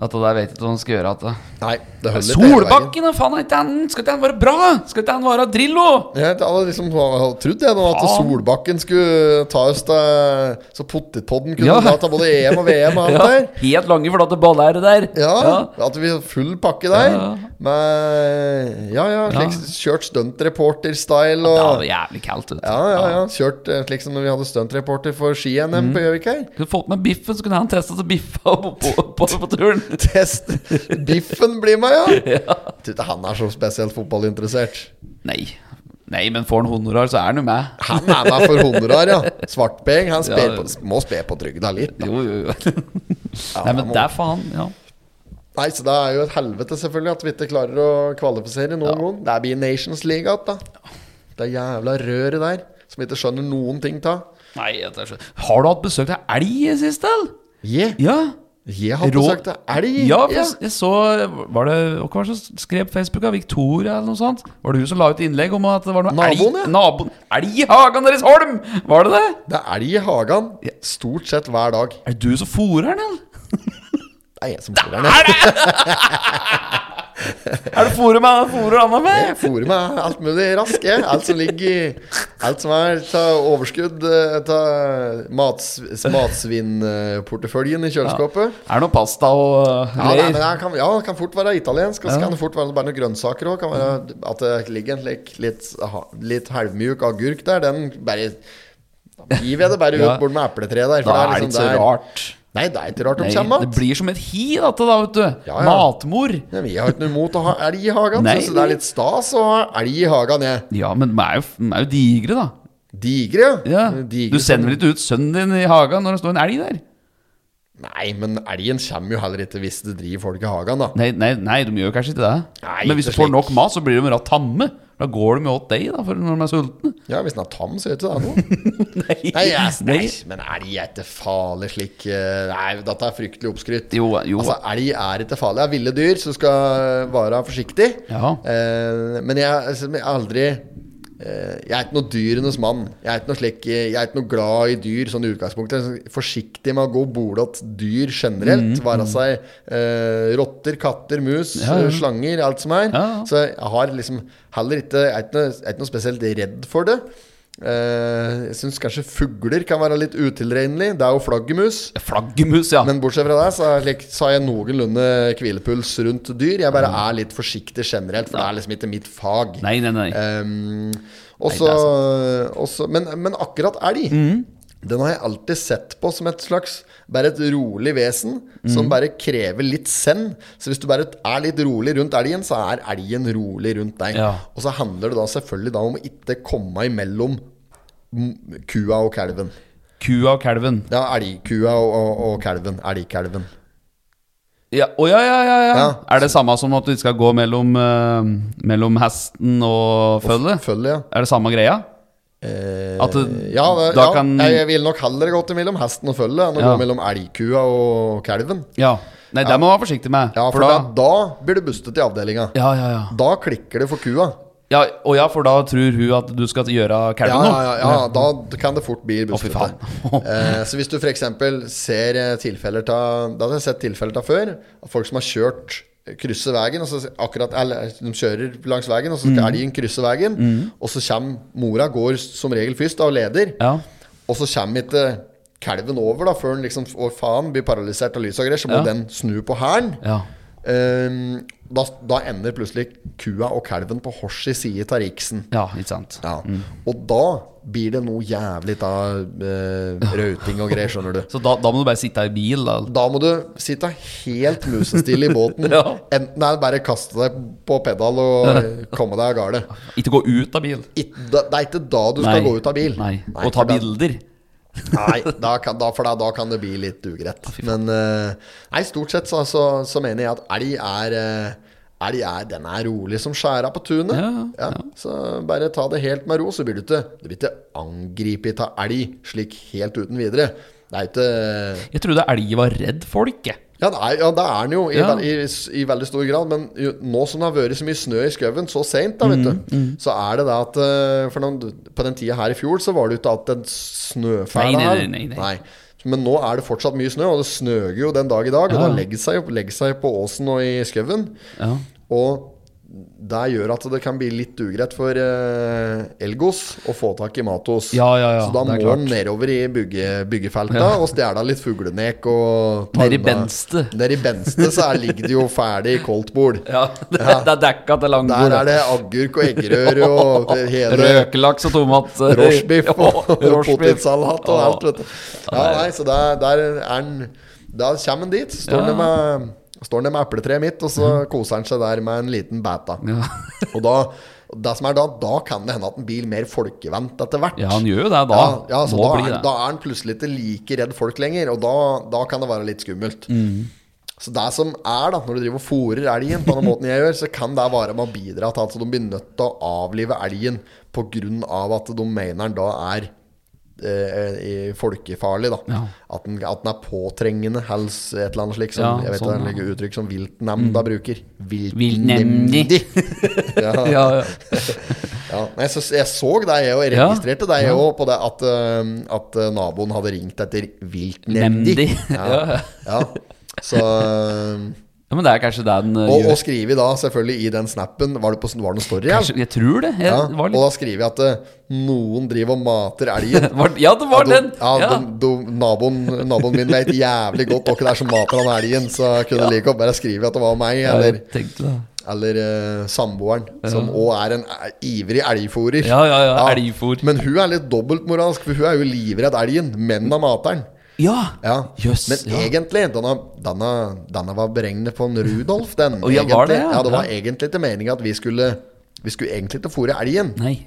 B: Dette der vet jeg ikke hva han skal gjøre. At det.
A: Nei, det holder ikke hele veien.
B: Solbakken, da, faen! er ikke han- Skal ikke han være bra? Skal ikke han være Drillo?
A: Jeg hadde liksom hadde trodd jeg nå at
B: Faen.
A: Solbakken skulle ta oss til Så potetpodden kunne
B: Ja.
A: ta til både EM og VM
B: [LAUGHS]
A: og alt
B: Ja,
A: der.
B: helt lange, for at det baller der.
A: Ja,
B: Ja.
A: At vi har full pakke der.
B: Ja, ja.
A: Med ja, ja, slik, kjørt stuntreporter-style
B: Det
A: og
B: var jævlig kaldt. Vet du.
A: ja, ja, ja. Kjørt eh, slik som når vi hadde stuntreporter for ski-NM
B: Mm.
A: på Gjøvik her.
B: Kunne fått med biffen, så kunne han testa seg biffa på, på, på, på turen. [LAUGHS]
A: Test Biffen blir med, ja! Tror ikke han er så spesielt fotballinteressert.
B: Nei. Nei, men får han honorar, så er han jo med.
A: Han er med for honorar, ja. Svartpeng. Han sper
B: Ja.
A: på, må spe på trygda litt. da.
B: Jo, jo, [LAUGHS] jo. Nei, men
A: må-
B: det er faen. Ja.
A: Nei, så det er jo et helvete selvfølgelig at vi ikke klarer å kvalifisere noen gang. Det blir Nations League igjen, da. Det jævla røret der, som vi ikke skjønner noen ting av.
B: Nei, dette er så... Har du hatt besøk av elg i siste, eller?
A: Yeah.
B: Ja.
A: Jeg har
B: Rå-
A: besøkt av elg.
B: Ja, for jeg- jeg så Var det Hva var det som skrev på Facebook? av Victoria eller noe sånt? Var det hun som la ut innlegg om at det var noe
A: Naboen, ja.
B: elg, naboen, elg i hagen deres, Holm? Var det det?
A: Det er elg i hagen stort sett hver dag.
B: Er det du som fôrer den, eller?
A: Det er jeg som fôrer den.
B: Er det fôret med fôrer Anna med?
A: Jeg fôrer meg alt mulig rask, jeg. Alt som ligger i Alt som er av overskudd eh, av mats, matsvinnporteføljen i kjøleskapet.
B: [LAUGHS] Er det noe pasta og
A: Ja, det,
B: greier?
A: men det kan, ja, det kan fort være italiensk. Og så kan det fort være bare noen grønnsaker òg. At det ligger en slik litt, ha- litt halvmjuk agurk der. Den bare Da gir vi det bare ut
B: Ja.
A: bort med epletreet der.
B: da
A: for
B: er det
A: liksom
B: ikke så
A: der-
B: rart.
A: Nei, det er ikke rart de
B: Nei,
A: kommer.
B: det blir som et hi, dette, da, vet du.
A: Ja, ja.
B: Matmor.
A: Ja, men jeg har ikke noe imot å ha elg i hagen.
B: Nei,
A: Synes det er litt stas å ha elg i hagen, jeg.
B: Ja, men de er jo, de er jo digre, da.
A: Digre,
B: Ja.
A: Digre
B: Du sender vel ikke ut sønnen din i hagen når det står en elg der?
A: som- Nei, men elgen kommer jo heller ikke hvis det driver folk i hagen, da.
B: Nei, nei, nei de gjør kanskje ikke det.
A: Nei,
B: men hvis
A: ikke
B: du får
A: slik.
B: nok mat, så blir de ratt tamme. Da går de jo åt deg, da, for når de er sultne.
A: Ja, hvis den er tam, så gjør ikke det noe.
B: Nei,
A: Nei, yes, nei,
B: Nei.
A: men elg er ikke farlig slik eh, Nei, dette er fryktelig oppskrytt.
B: Jo, jo.
A: Altså, elg er ikke farlig. Det er ville dyr, så du skal være forsiktig.
B: Ja.
A: Eh, men jeg, altså, jeg er aldri eh, Jeg er ikke noe dyrenes mann. Jeg er ikke noe, slik, jeg er ikke noe glad i dyr sånn i utgangspunktet. Jeg er sånn Forsiktig med å gå bordet til dyr generelt. Være seg eh, rotter, katter, mus,
B: Mhm, Ja, ja.
A: eh, slanger, alt som er.
B: Ja, ja.
A: Så jeg har liksom heller ikke Jeg er ikke noe, jeg er ikke noe spesielt redd for det. Eh, jeg syns kanskje fugler kan være litt utilregnelig. Det er jo flaggermus.
B: Flaggermus, ja.
A: Men bortsett fra det, så, er slik, så har jeg noenlunde hvilepuls rundt dyr. Jeg bare er litt forsiktig generelt, for det er liksom ikke mitt fag.
B: Mm. Nei, nei, nei.
A: Ehm,
B: Nei,
A: også,
B: det er Mm.
A: også, men, men akkurat elg, den har jeg alltid sett på som et slags Bare et rolig vesen
B: Mm.
A: som bare krever litt send. Så hvis du bare er litt rolig rundt elgen, så er elgen rolig rundt deg.
B: Ja.
A: Og så handler det da selvfølgelig da om å ikke komme imellom mm, kua og kalven.
B: Kua og kalven.
A: Ja, elgkua og, og, og kalven. Elgkalven.
B: Ja, å, ja, ja, ja, ja.
A: Ja.
B: Er det samme som at du ikke skal gå mellom, eh, mellom hesten og føllet?
A: Følge, ja.
B: Er det samme greia?
A: Eh,
B: At det-
A: ja, det,
B: da
A: ja
B: kan-
A: jeg, jeg ville nok heller gått mellom hesten og føllet enn å
B: Ja.
A: gå mellom elgkua og kalven.
B: Ja. Nei, det må man være forsiktig med.
A: Ja, for, da, da blir du bustet i avdelinga.
B: Ja, ja, ja.
A: Da klikker det for kua.
B: ja. Og ja, for da tror hun at du skal gjøre
A: Ja,
B: kalven
A: ja,
B: noe.
A: ja, ja, da kan det fort bli bustete.
B: faen.
A: [LAUGHS] eh, så hvis du f.eks. ser eh, tilfeller ta Da har jeg sett tilfeller ta før. at Folk som har kjørt krysser veien, og så akkurat, eller, eh, de kjører langs veien, og så skal elgen krysse veien. Og så kommer mora, går som regel først, og leder.
B: Ja.
A: Og så kommer ikke kalven over da før den liksom Å, faen, blir paralysert av lys og greier. Så må
B: Ja.
A: den snu på hælen.
B: ja.
A: Ehm, da, da ender plutselig kua og kalven på hors i side av riksen.
B: Ja, ikke sant.
A: Ja. Og da blir det noe jævlig av eh, rauting og greier, skjønner du.
B: Så da, da må du bare sitte i bil, da.
A: Da må du sitte helt musestille i båten.
B: [LAUGHS] Ja.
A: Enten er det bare å kaste deg på pedal og eh,
B: [LAUGHS]
A: komme deg av gårde.
B: Ikke gå ut av bil.
A: Ikke- da- Det er ikke da du skal gå ut av bil.
B: Nei. Og ta
A: for da-
B: bilder.
A: Nei, da kan, da, for da, da kan det bli litt ugreit. Men eh, nei, stort sett så, så, så mener jeg at elg er eh, Elg er, den er rolig som skjæra på tunet.
B: Ja, ja,
A: Så bare ta det helt med ro, så blir du ikke Du blir ikke angrepet av elg slik helt uten videre. Det er jo ikke
B: Jeg trodde elg var redd folk, jeg.
A: ja, det er, ja, det er den jo i,
B: Ja.
A: ve- i, i veldig stor grad. Men jo, nå som det har vært så mye snø i skauen så seint, da, vet
B: Mm,
A: du, så er det det at eh, For noen, på den tida her i fjor så var det jo ikke at den snøfæla
B: Nei, nei,
A: her.
B: nei, nei, nei.
A: Men nå er det fortsatt mye snø, og det snøger jo den dag i dag. Og
B: Ja.
A: da legger seg, jo- legger seg på åsen og i skauen.
B: Ja.
A: Og det gjør at det kan bli litt ugreit for eh, Elgos å få tak i Matos.
B: Ja, ja,
A: så
B: ja,
A: da
B: det er
A: må
B: klart.
A: han nedover i bygge, byggefelta og stjele litt fuglenek. Og ta
B: Nede i
A: unna-
B: Benste.
A: Nede i Benste så er, ligger det jo ferdig koldtbord.
B: Ja, [LAUGHS] det, det er dekka til langbord.
A: Der er det agurk og eggerøre
B: [LAUGHS]
A: og det hele
B: Røkelaks
A: [LAUGHS]
B: og tomat.
A: rochebiff og
B: altså. Ja, rochebiff.
A: potetsalat og
B: Ja.
A: alt, vet du. Ja, nei, så der, der er han Da kommer han dit. Står
B: Ja. Mhm.
A: han med Står han med epletreet mitt, og så koser han seg der med en liten bæta.
B: Ja.
A: Og da det som er da, da kan det hende at en blir mer folkevendt etter hvert.
B: Ja, han gjør jo det da.
A: Ja, ja, så
B: Må
A: da,
B: bli
A: er,
B: det.
A: da er han plutselig ikke like redd folk lenger, og da, da kan det være litt skummelt.
B: Mhm.
A: Så det som er, da, når du driver og fôrer elgen på den måten jeg gjør, så kan det være med å bidra til at de blir nødt til å avlive elgen pga. at de mener den da er eh, i folkefarlig, da.
B: Ja.
A: At, den, at den er påtrengende, hals, et eller annet slikt. Som,
B: Ja,
A: jeg vet
B: sånn,
A: det er et uttrykk som viltnemnda bruker.
B: Viltnemndi.
A: ja.
B: [LAUGHS] Ja, ja.
A: Ja, men jeg, så, jeg så deg òg, jeg
B: Ja.
A: registrerte deg
B: Ja.
A: òg på det at, øhm, at øh, naboen hadde ringt etter viltnemndi.
B: Nemndi.
A: [LAUGHS] Ja.
B: Ja.
A: ja. Så, øhm,
B: ja, men det er kanskje det den eh,
A: og, og
B: gjør.
A: skrive da selvfølgelig i den snappen Var det, på, var det en story?
B: Kanskje, jeg tror det. Jeg,
A: ja,
B: det var
A: Og
B: litt,
A: da skriver jeg at øh, noen driver og mater elgen.
B: [LAUGHS] var, ja, det var
A: Ja,
B: den!
A: do- Ja,
B: Ja.
A: do- do- naboen, naboen min vet jævlig godt hva det er som mater han elgen, så jeg kunne like godt bare skrive at det var meg,
B: Ja,
A: eller,
B: jeg tenkte det.
A: eller eh, samboeren, som òg er en eh, ivrig elgfòrer.
B: Ja, ja, ja, elgfôr.
A: Men hun er litt dobbeltmoralsk, for hun er jo livredd elgen, men av materen.
B: Ja!
A: Ja.
B: Jøss,
A: men
B: ja.
A: egentlig, denne, denne, denne var beregnet på en Rudolf, den.
B: Å, ja,
A: egentlig.
B: var det, ja?
A: ja. det var
B: Ja.
A: egentlig ikke meninga at vi skulle Vi skulle egentlig ikke fôre elgen.
B: Nei.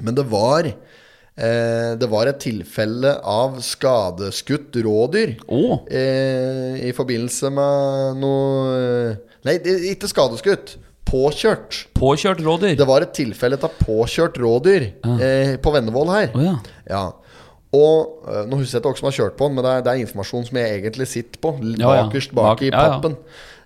A: Men det var eh, Det var et tilfelle av skadeskutt rådyr
B: Å.
A: eh, i forbindelse med noe eh, Nei, det, ikke skadeskutt. Påkjørt.
B: Påkjørt rådyr.
A: Det var et tilfelle av påkjørt rådyr eh, på Vennevoll her.
B: Å, ja.
A: Og eh, Nå husker jeg ikke hvem som har kjørt på den, men det er, det er informasjon som jeg egentlig sitter på. l-
B: Ja, ja.
A: Bakerst bak,
B: Bak-
A: i
B: ja, ja.
A: pappen.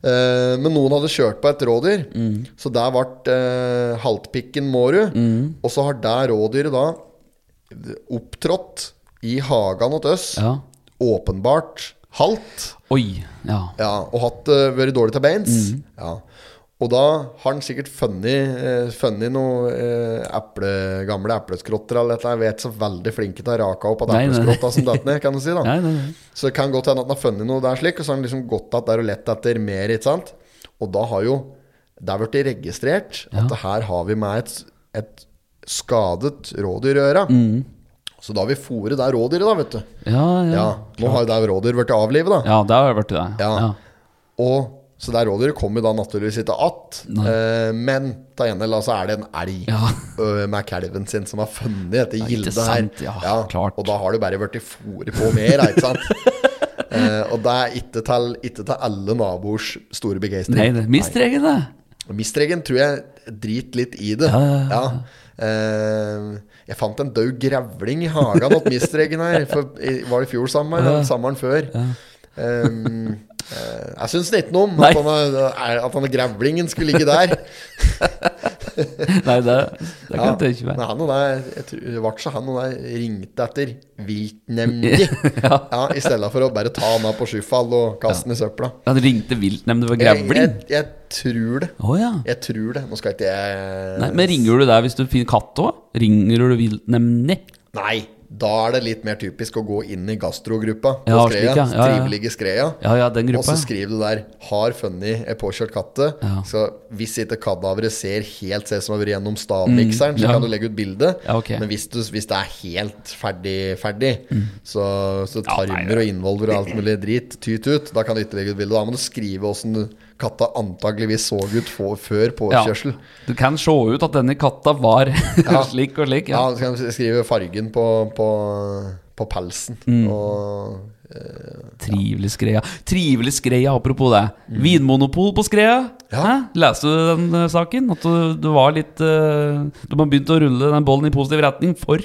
A: Eh, men noen hadde kjørt på et rådyr,
B: Mm.
A: så der ble eh, haltpikken Mårud.
B: Mm.
A: Og så har det rådyret da opptrådt i hagen hos oss.
B: Ja.
A: Åpenbart halt.
B: Oi. Ja.
A: Ja, og hatt eh, vært dårlig til beins.
B: Mhm.
A: Ja. Og da har han sikkert funnet, uh, funnet noen eple, gamle epleskrotter eller et eller annet. Jeg vet så veldig flinke til å rake opp at
B: Nei, nei.
A: epleskrotta som datt ned, kan du si.
B: [LAUGHS]
A: da
B: Nei, nei, nei.
A: Så det kan godt hende at han har funnet noe der slik, og så har han liksom gått att der og lett etter mer, ikke sant. Og da har jo det har blitt registrert at det her har vi med et, et skadet rådyr å gjøre. Så da har vi fôret det rådyret, da, vet du.
B: Ja, Mhm. ja.
A: Ja,
B: ja.
A: Nå har jo det rådyret blitt avlivet, da.
B: det har vært det.
A: Ja.
B: Ja.
A: Og så det rådyret kommer da naturligvis ikke att. Eh, men ta igjen, eller altså er det en elg
B: Ja.
A: ø, med kalven sin som har funnet dette
B: ikke
A: gildet her.
B: sant, ja, klart.
A: Og da har du bare vært i fôret på mer, ikke
B: [LAUGHS]
A: sant? Eh, og det er ikke til, ikke til alle naboers store begeistring.
B: Nei, det mistregen, det.
A: Og Mistregen tror jeg driter litt i det. Ja, Eh, jeg fant en død grevling i hagen hos mistregen her. For, i, var det i fjor sommer? eller Sommeren før. Ehm, eh, jeg syns ikke noe om
B: Nei.
A: at han, er, at han er grevlingen skulle ligge der.
B: Nei, det, [LAUGHS] det kan
A: Ja.
B: jeg tenke meg.
A: Men han og der, jeg tror, det var ikke så han og der ringte etter viltnemndi.
B: [LAUGHS]
A: ja. I stedet for å bare ta han av på skyfall og kaste han i søpla.
B: Han ringte viltnemnda for
A: Jeg, jeg,
B: grevling.
A: jeg tror det.
B: Å ja.
A: Jeg tror det. Nå skal ikke jeg
B: Nei, men ringer du der hvis du finner katt òg? Ringer du viltnemnda?
A: Nei, da er det litt mer typisk å gå inn i gastrogruppa på
B: Ja,
A: Skreia.
B: slik, ja. Ja, ja.
A: Trivelige Skreia.
B: Ja, ja, den
A: Og så
B: gruppa. ja.
A: skriver du der 'Har funnet ei påkjørt katte'.
B: Ja.
A: Så hvis ikke kadaveret ser helt ser ut som det har vært gjennom stavmikseren, så
B: Mm, ja.
A: kan du legge ut bilde.
B: Ja, ok. Mm.
A: Men hvis, du, hvis det er helt ferdig, ferdig så, så tarmer
B: nei, det-
A: og innvoller og alt mulig drit tyt ut, da kan du ikke legge ut bilde. Da må du skrive åssen katta antageligvis så ut få- før påkjørsel.
B: Du kan se ut at denne katta var [LAUGHS] slik og slik. Ja.
A: Ja, så kan du skrive fargen på, på, på pelsen.
B: Mm.
A: Og eh,
B: Trivelig Skreia. Trivelig Skreia, apropos det. Vinmonopol på Skreia.
A: Mm. Ja.
B: Hæ? Leste du den eh, saken? At du, du var litt eh, De har begynt å rulle den bollen i positiv retning for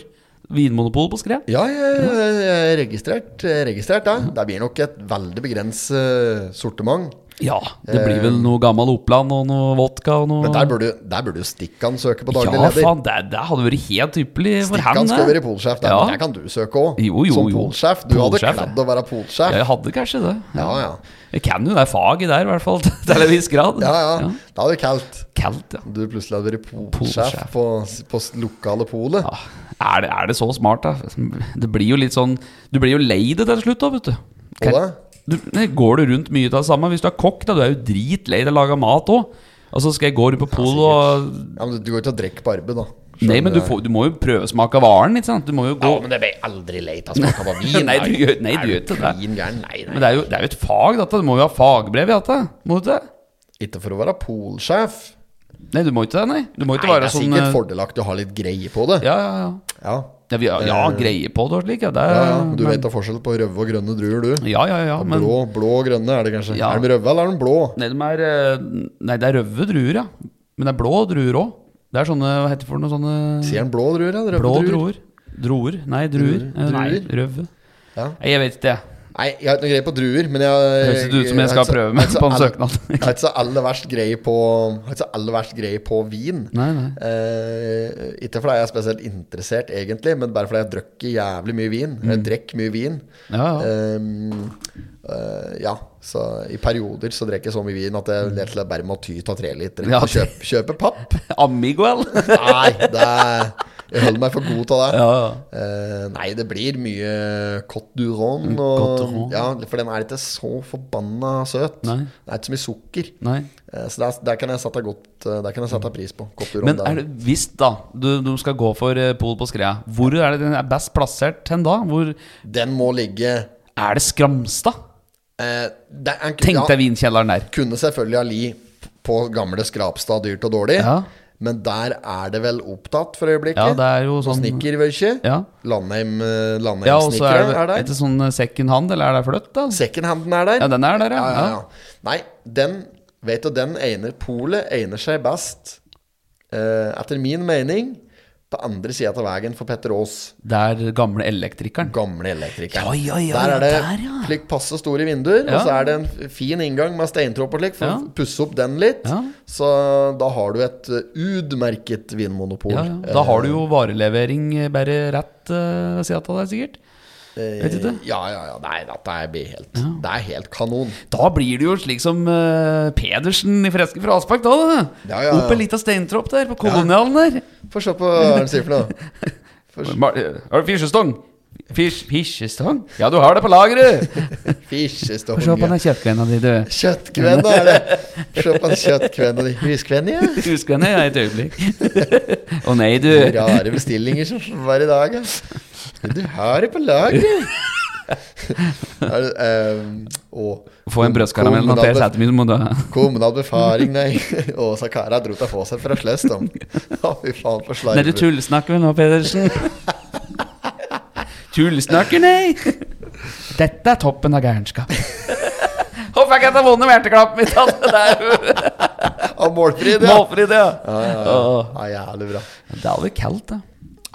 B: vinmonopol på Skreia?
A: Ja, jeg, jeg, jeg registrert, jeg registrert det. Det blir nok et veldig begrenset eh, sortiment.
B: Ja. Det blir vel noe gammel Oppland og noe vodka og
A: Eh.
B: noe
A: Men der burde, der burde jo Stikkan søke på daglig
B: Ja,
A: leder.
B: faen, det, det hadde vært helt ypperlig for
A: Stikkan skal
B: henne.
A: være polsjef. Der,
B: Ja.
A: der kan du søke òg.
B: Jo, jo,
A: Som
B: jo.
A: polsjef. Du
B: Polsjef,
A: hadde
B: ja.
A: kledd å være
B: Ja,
A: polsjef.
B: jeg hadde kanskje det.
A: Ja, ja.
B: Jeg kan jo det faget der, i hvert fall. [LAUGHS] Til en viss grad.
A: Ja, ja. Det hadde du kalt.
B: Kaldt, ja.
A: Du plutselig hadde vært polsjef
B: Polsjef.
A: på, på lokale polet.
B: Ja, Ah, Er det, er det så smart, da? Det blir jo litt sånn Du blir jo lei det til slutt, da, vet du.
A: Og det?
B: du nei, går du rundt mye av det samme? Hvis du er kokk, da, du er jo dritlei av å lage mat òg. Altså, skal jeg gå rundt på polet og
A: Ja, men du- du går ikke og drikker på arbeid, da.
B: Nei,
A: Selv om
B: men
A: det
B: du,
A: er-
B: får, du må jo prøvesmake varen, ikke sant? Du må jo gå
A: men det blir aldri leit av smak av vin. [LAUGHS]
B: Nei, du gjør- nei, du gjør ikke det.
A: Klin gæren. Nei, nei.
B: Men det er jo, det er jo et fag, dette. Du må jo ha fagbrev i dette. Må du ikke det?
A: Ikke for å være polsjef.
B: Nei, du må ikke det, nei. Du må
A: Nei,
B: ikke
A: det
B: være
A: er
B: sånn
A: sikkert
B: eh,
A: fordelaktig å ha litt greie på det.
B: Ja, ja, ja.
A: Ja,
B: Ja, vi, har- ja greie på det og slik, ja. Det,
A: Eh. ja, ja. Du
B: Eh, men-
A: vet da forskjell på røde og grønne druer, du.
B: Ja, ja, ja. Men
A: Blå, blå og grønne er det kanskje.
B: Ja.
A: Er de røde, eller er de blå?
B: Nei, de er, eh, nei, det er røde druer, ja. Men det er blå druer òg. Det er sånne Hva heter det for noe sånne
A: Sier han blå druer, ja? Røde
B: Blå
A: druer.
B: druer. Droer? Nei, druer.
A: Druer.
B: Eh, Nei,
A: Druer?
B: røve.
A: Ja.
B: Nei, Jeg vet ikke, jeg.
A: Nei, jeg har ikke noe greie på druer, men jeg
B: Det høres ikke ut som jeg
A: har
B: skal
A: ikke så-
B: prøve meg
A: har ikke så
B: på en
A: all-
B: søknad. [LAUGHS]
A: Jeg har ikke så aller verst greie på Har ikke så aller verst greie på vin.
B: Nei, nei.
A: Eh, ikke fordi jeg er spesielt interessert, egentlig, men bare fordi jeg drikker jævlig mye vin. Jeg drikker mye vin.
B: Mm. Ja, ja.
A: Eh, eh, ja, så i perioder så drikker jeg så mye vin at jeg rett og slett bare må ty til treliter.
B: Mm. Ja.
A: Ja. Kjøpe, kjøpe
B: [LAUGHS]
A: papp?
B: Amiguel?
A: Nei, det er, jeg holder meg for god til det.
B: [LAUGHS] ja, ja.
A: Eh, nei, det blir mye Côte du Rhône.
B: Mm, Côte du
A: og-
B: Rhône.
A: Ja, for den er ikke så forbanna søt.
B: Nei.
A: Det er ikke så mye sukker.
B: Nei.
A: Eh, så der, der kan jeg sette, godt, eh, der kan jeg sette pris på. Côte du Rhône.
B: Men
A: der.
B: er det, hvis da du, du skal gå for eh, Pol på Skrea, hvor er det den er best plassert hen da? Hvor
A: Den må ligge
B: Er det Skramstad?
A: eh, det er, en-
B: Tenk
A: ja,
B: deg vinkjelleren der.
A: Kunne selvfølgelig ha li på gamle Skrapstad dyrt og dårlig.
B: Ja.
A: Men der er det vel opptatt for øyeblikket?
B: Ja, det er jo sånn-
A: Snikkervøykje.
B: Ja.
A: Landheim, eh, Landheim
B: Ja, og så er
A: snikkere
B: det
A: er,
B: er
A: der.
B: det sånn eh, second hand, eller er det fløtt, da?
A: Secondhanden er der.
B: Ja, den er der, ja.
A: ja, ja, ja. Nei, den Vet du, den egner Polet egner seg best, eh, etter min mening, på andre sida av veien for Petter Aas.
B: Der gamle elektrikeren.
A: Gamle elektriker.
B: Ja, ja, ja,
A: der
B: ja,
A: er det
B: der, ja.
A: slik passe store vinduer,
B: Ja.
A: og så er det en f- fin inngang med steintropp og slik, for
B: Ja.
A: å pusse opp den litt.
B: Ja.
A: Så da har du et eh, utmerket vinmonopol.
B: Ja, ja. Da har du jo varelevering eh, bare rett eh, ved sida av deg, sikkert.
A: Eh,
B: vet du det?
A: Ja, ja, ja. Nei, dette er blir helt, det er helt kanon.
B: Da blir det jo slik som eh, Pedersen i Freske fra Aspak, da. da.
A: Ja, ja, ja.
B: Opp en liten steintropp der, på kolonialen der.
A: Få se på hva han sier for noe.
B: [LAUGHS] Mar- eh, Har du fisjestong? Fisj, fisjestong? Ja, du har det på lageret!
A: Fisjestående.
B: Se på den kjøttkvenna di, du.
A: Kjøttkvenna er det. Se på den kjøttkvenna di. Huskvenna, ja.
B: Husk henne, jeg, et øyeblikk. Å nei, du.
A: Rare bestillinger som var i dag, ja. Du har det på
B: [LAUGHS]
A: lageret. Er det, ehm, å,
B: Få en brødskaramell av Per Sætermyr, må du ha.
A: Kommunal befaring, nei. [LAUGHS] Å, Sakara dro ta på seg for å sløst
B: [LAUGHS]
A: om. Å, fy faen, for
B: Nei, du
A: slarv.
B: tullsnakker vel nå,
A: [LAUGHS]
B: Pedersen? tullsnakker, nei! Dette er toppen av gærenskap. [LAUGHS] Håper jeg ikke at jeg vunnet verteklappen min. Altså. Det er jo
A: Av målfri, [LAUGHS] Ah, ja.
B: målfri, det. Ja,
A: Ja, jævlig bra.
B: Det er jo kaldt, det.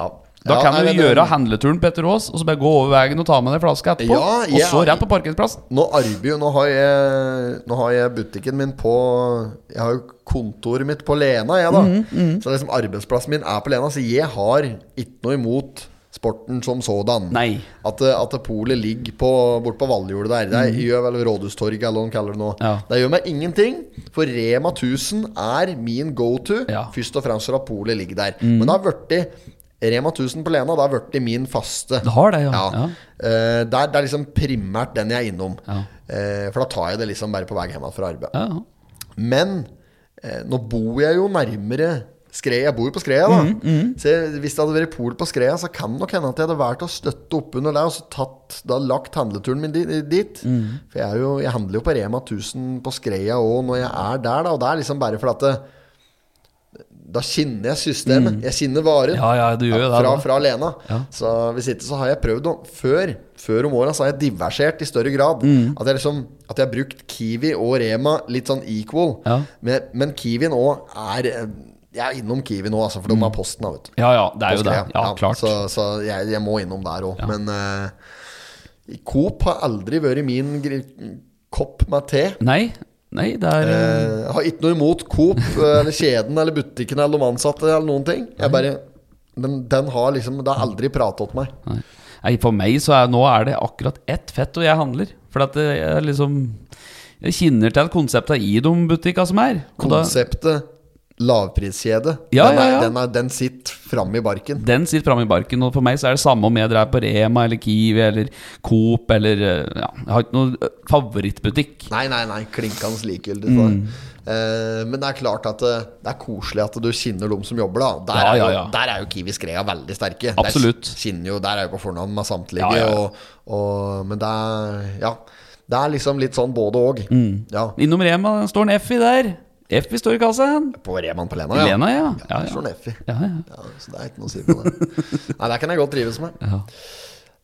A: Ja.
B: Da
A: Ja,
B: kan
A: nei,
B: du
A: men,
B: gjøre
A: eh,
B: handleturen på Petter Aas, og så bare gå over veien og ta med deg flaska etterpå.
A: Ja,
B: Og så
A: jeg-
B: rett på parkeringsplassen.
A: Nå arbeider jo nå, har jeg- nå har jeg butikken min på Jeg har jo kontoret mitt på Lena, jeg, da.
B: Mhm,
A: Så liksom arbeidsplassen min er på Lena, så jeg har ikke noe imot sporten som sådan.
B: Nei.
A: At, eh, at polet ligger på, bort på Valhjulet der. Det gjør vel Rådhustorget, eller hva de kaller det nå.
B: Mhm. Ja.
A: Det gjør meg ingenting, for Rema 1000 er min go to.
B: Ja. Mhm.
A: Først og fremst for at polet ligger der. Men det har blitt Rema 1000 på Lena, det har blitt min faste.
B: Det har det, ja.
A: Ja.
B: Ja.
A: Eh, det, er, det er liksom primært den jeg er innom.
B: Ja.
A: Eh, for da tar jeg det liksom bare på vei hjem fra arbeid.
B: Ja.
A: Men eh, nå bor jeg jo nærmere Skreia. Jeg bor jo på Skreia, da.
B: Mm,
A: Så jeg, hvis det hadde vært pol på Skreia, så kan det nok hende at jeg hadde valgt å støtte oppunder det og så tatt, da lagt handleturen min di- dit.
B: Mm.
A: For jeg, er jo, jeg handler jo på Rema 1000 på Skreia òg når jeg er der, da. Og det er liksom bare fordi at det, da kjenner jeg systemet. Jeg kjenner varen.
B: Mm. ja, ja, du gjør jo det.
A: fra,
B: da.
A: fra Lena.
B: Ja.
A: Så hvis ikke så har jeg prøvd å Før, før om åra så har jeg diversert i større grad.
B: Mm.
A: At, jeg liksom, at jeg har brukt Kiwi og Rema litt sånn equal.
B: Ja.
A: Men, men Kiwien òg er eh, Jeg er innom Kiwi nå, altså, for de har posten, da, vet du.
B: Ja, ja, Mm. det er jo det.
A: Skreia.
B: Ja, klart.
A: Så, så jeg, jeg må innom der òg. Men eh, Coop har aldri vært min gri- kopp med te.
B: Nei, nei, det er eh,
A: Eh, har ikke noe imot Coop eh, eller kjeden eller butikken eller de ansatte eller noen ting. Jeg bare, men den har liksom Det har aldri prata til meg.
B: Nei. Nei, for meg så er nå er det akkurat ett fett og jeg handler. For at det er liksom Jeg kjenner til konsepta i de butikka som er. Og da,
A: Konseptet lavpriskjede,
B: Ja,
A: den, er,
B: ja, ja.
A: Den, er, den sitter framme i barken.
B: den sitter framme i barken, og for meg så er det samme om jeg drar på Rema eller Kiwi eller Coop eller eh, ja, Jeg har ikke noen eh, favorittbutikk.
A: Nei, nei, nei, klinkende
B: Mm.
A: likegyldig. for deg. Eh, men det er klart at det, det er koselig at du kjenner dem som jobber, da. Der,
B: Ja,
A: er,
B: ja,
A: jo,
B: ja.
A: der er jo Kiwi Skrea veldig sterke.
B: Absolutt.
A: Der, kjenner jo, der er jo på fornavn med samtlige.
B: Ja, ja, ja.
A: Og, og, men det er Ja. Det er liksom litt sånn både og
B: Mm.
A: Ja.
B: Innom Rema står en Effie der. Effie står i kassa. hen.
A: På Reman på Lena, ja.
B: Lena, ja. Ja,
A: Det er sånn
B: ja.
A: så neffig.
B: ja, ja.
A: Ja, så det er ikke noe å si på det. Nei, det kan jeg godt trives med.
B: Ja.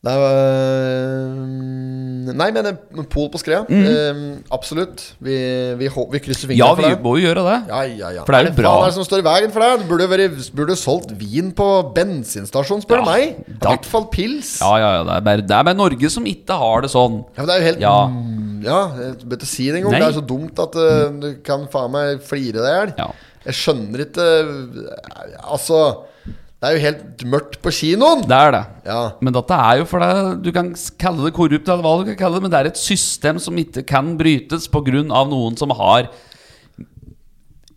A: Det er, øh, nei, men en pol på skred. Eh, absolutt. Vi, vi, hå- vi krysser fingrene
B: Mhm. Ja,
A: for
B: vi
A: det.
B: må jo gjøre det.
A: Ja, ja, ja.
B: For det er jo
A: Hva
B: bra.
A: faen er det som står i veien for deg? Du burde, vært, burde solgt vin på bensinstasjon, spør du
B: Ja,
A: meg. I
B: da-
A: hvert fall pils.
B: Ja, ja, ja. Det er bare, det er bare Norge som ikke har det sånn.
A: Ja, men det er jo helt Ja,
B: Ja.
A: ja jeg bør ikke si det engang.
B: Nei. Mm.
A: Det er jo så dumt at eh, du kan faen meg flire deg i hjel.
B: Ja.
A: Jeg skjønner ikke eh, Altså, det er jo helt mørkt på kinoen!
B: Det er det.
A: Ja.
B: Men dette er jo for det Du kan s- kalle det korrupt, eller hva du kan kalle det, men det er et system som ikke kan brytes pga. noen som har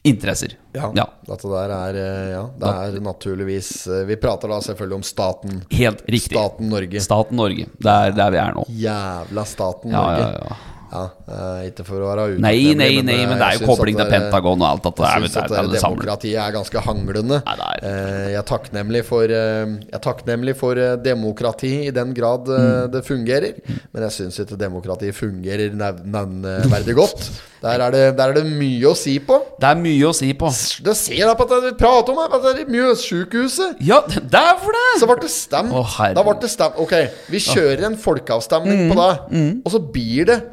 B: interesser.
A: Ja,
B: ja.
A: Dette der er eh, Ja, det er naturligvis eh, Vi prater da selvfølgelig om staten.
B: Helt riktig.
A: Staten Norge.
B: Staten Norge. Det er der vi er nå.
A: Jævla staten
B: Ja,
A: Norge.
B: ja, ja.
A: Ja, eh, ikke for å være
B: Nei,
A: utakknemlig,
B: nei, nei,
A: eh,
B: men det er
A: jeg
B: jo
A: syns
B: kobling
A: at
B: til
A: det-
B: Pentagon og alt dette.
A: Jeg
B: der, vet
A: syns
B: du,
A: at
B: alle
A: eh,
B: sammen.
A: demokratiet er ganske hanglende.
B: Nei, det er-
A: Eh, Jeg er takknemlig for, eh, jeg er takknemlig for eh, demokrati i den grad eh,
B: Mm.
A: det fungerer. Men jeg syns ikke demokratiet fungerer nev- nevneverdig godt. Der er, det, der er det mye å si på.
B: Det er mye å si på.
A: Det ser jeg på at vi prater om her, på det Mjøssykehuset.
B: Ja, det er for
A: Så
B: det!
A: ble det stemt.
B: Å, herregud.
A: da ble det stemt. Ok, vi kjører en folkeavstemning
B: Mm,
A: på det, og så blir det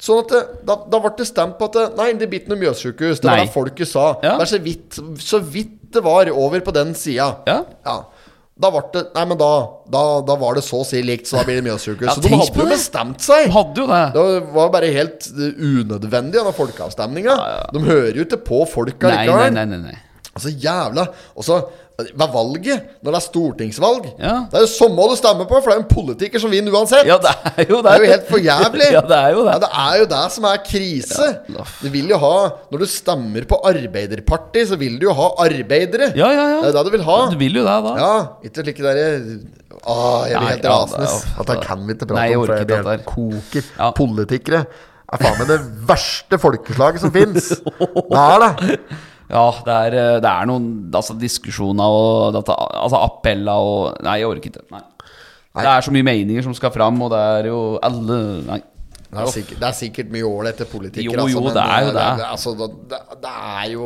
A: Sånn at det, da, da ble det stemt på at det, Nei, det blir ikke noe Mjøssykehuus. Det var
B: Nei.
A: det folket sa.
B: Ja.
A: Det er så vidt, så vidt det var over på den sida.
B: Ja.
A: Da ble det Nei, men da, da, da var det så å si likt, så da blir det Mjøssykehuus.
B: Ja,
A: så de
B: tenk
A: hadde
B: på
A: jo
B: det.
A: bestemt seg.
B: Hadde jo det.
A: Det var jo bare helt eh, unødvendig, denne folkeavstemninga. De hører jo ikke på folka
B: Nei, nei,
A: likevel.
B: nei. nei, nei.
A: Altså jævla Og så ved valget, når det er stortingsvalg
B: Ja.
A: Det er jo samme du stemmer på, for det er jo en politiker som vinner uansett.
B: Ja, det er jo
A: Det
B: det.
A: er jo helt for jævlig.
B: [LAUGHS] Ja, det er jo det.
A: Ja, det er jo det som er krise.
B: Ja.
A: Du vil jo ha Når du stemmer på Arbeiderpartiet, så vil du jo ha arbeidere.
B: Ja, ja, ja.
A: Det er det du vil ha.
B: Du vil jo det, da.
A: Ja, ikke slike derre Å, jeg blir
B: Nei,
A: helt
B: ja,
A: rasende.
B: det er-
A: At det kan vi ikke prate
B: Nei, jeg
A: om, for
B: orker
A: jeg blir
B: ikke
A: helt koker.
B: Ja.
A: Politikere er faen meg det verste folkeslaget
B: [LAUGHS]
A: som fins. Det er det.
B: Ja, det er, eh, det er noen altså, diskusjoner og dette, altså, appeller og Nei, jeg orker ikke. Nei. Det er så mye meninger som skal fram, og det er jo alle Nei. [LAUGHS]
A: Det er, sikkert, det er sikkert mye ålreite politikere,
B: Jo, jo, det er jo det.
A: altså, det, det, det er jo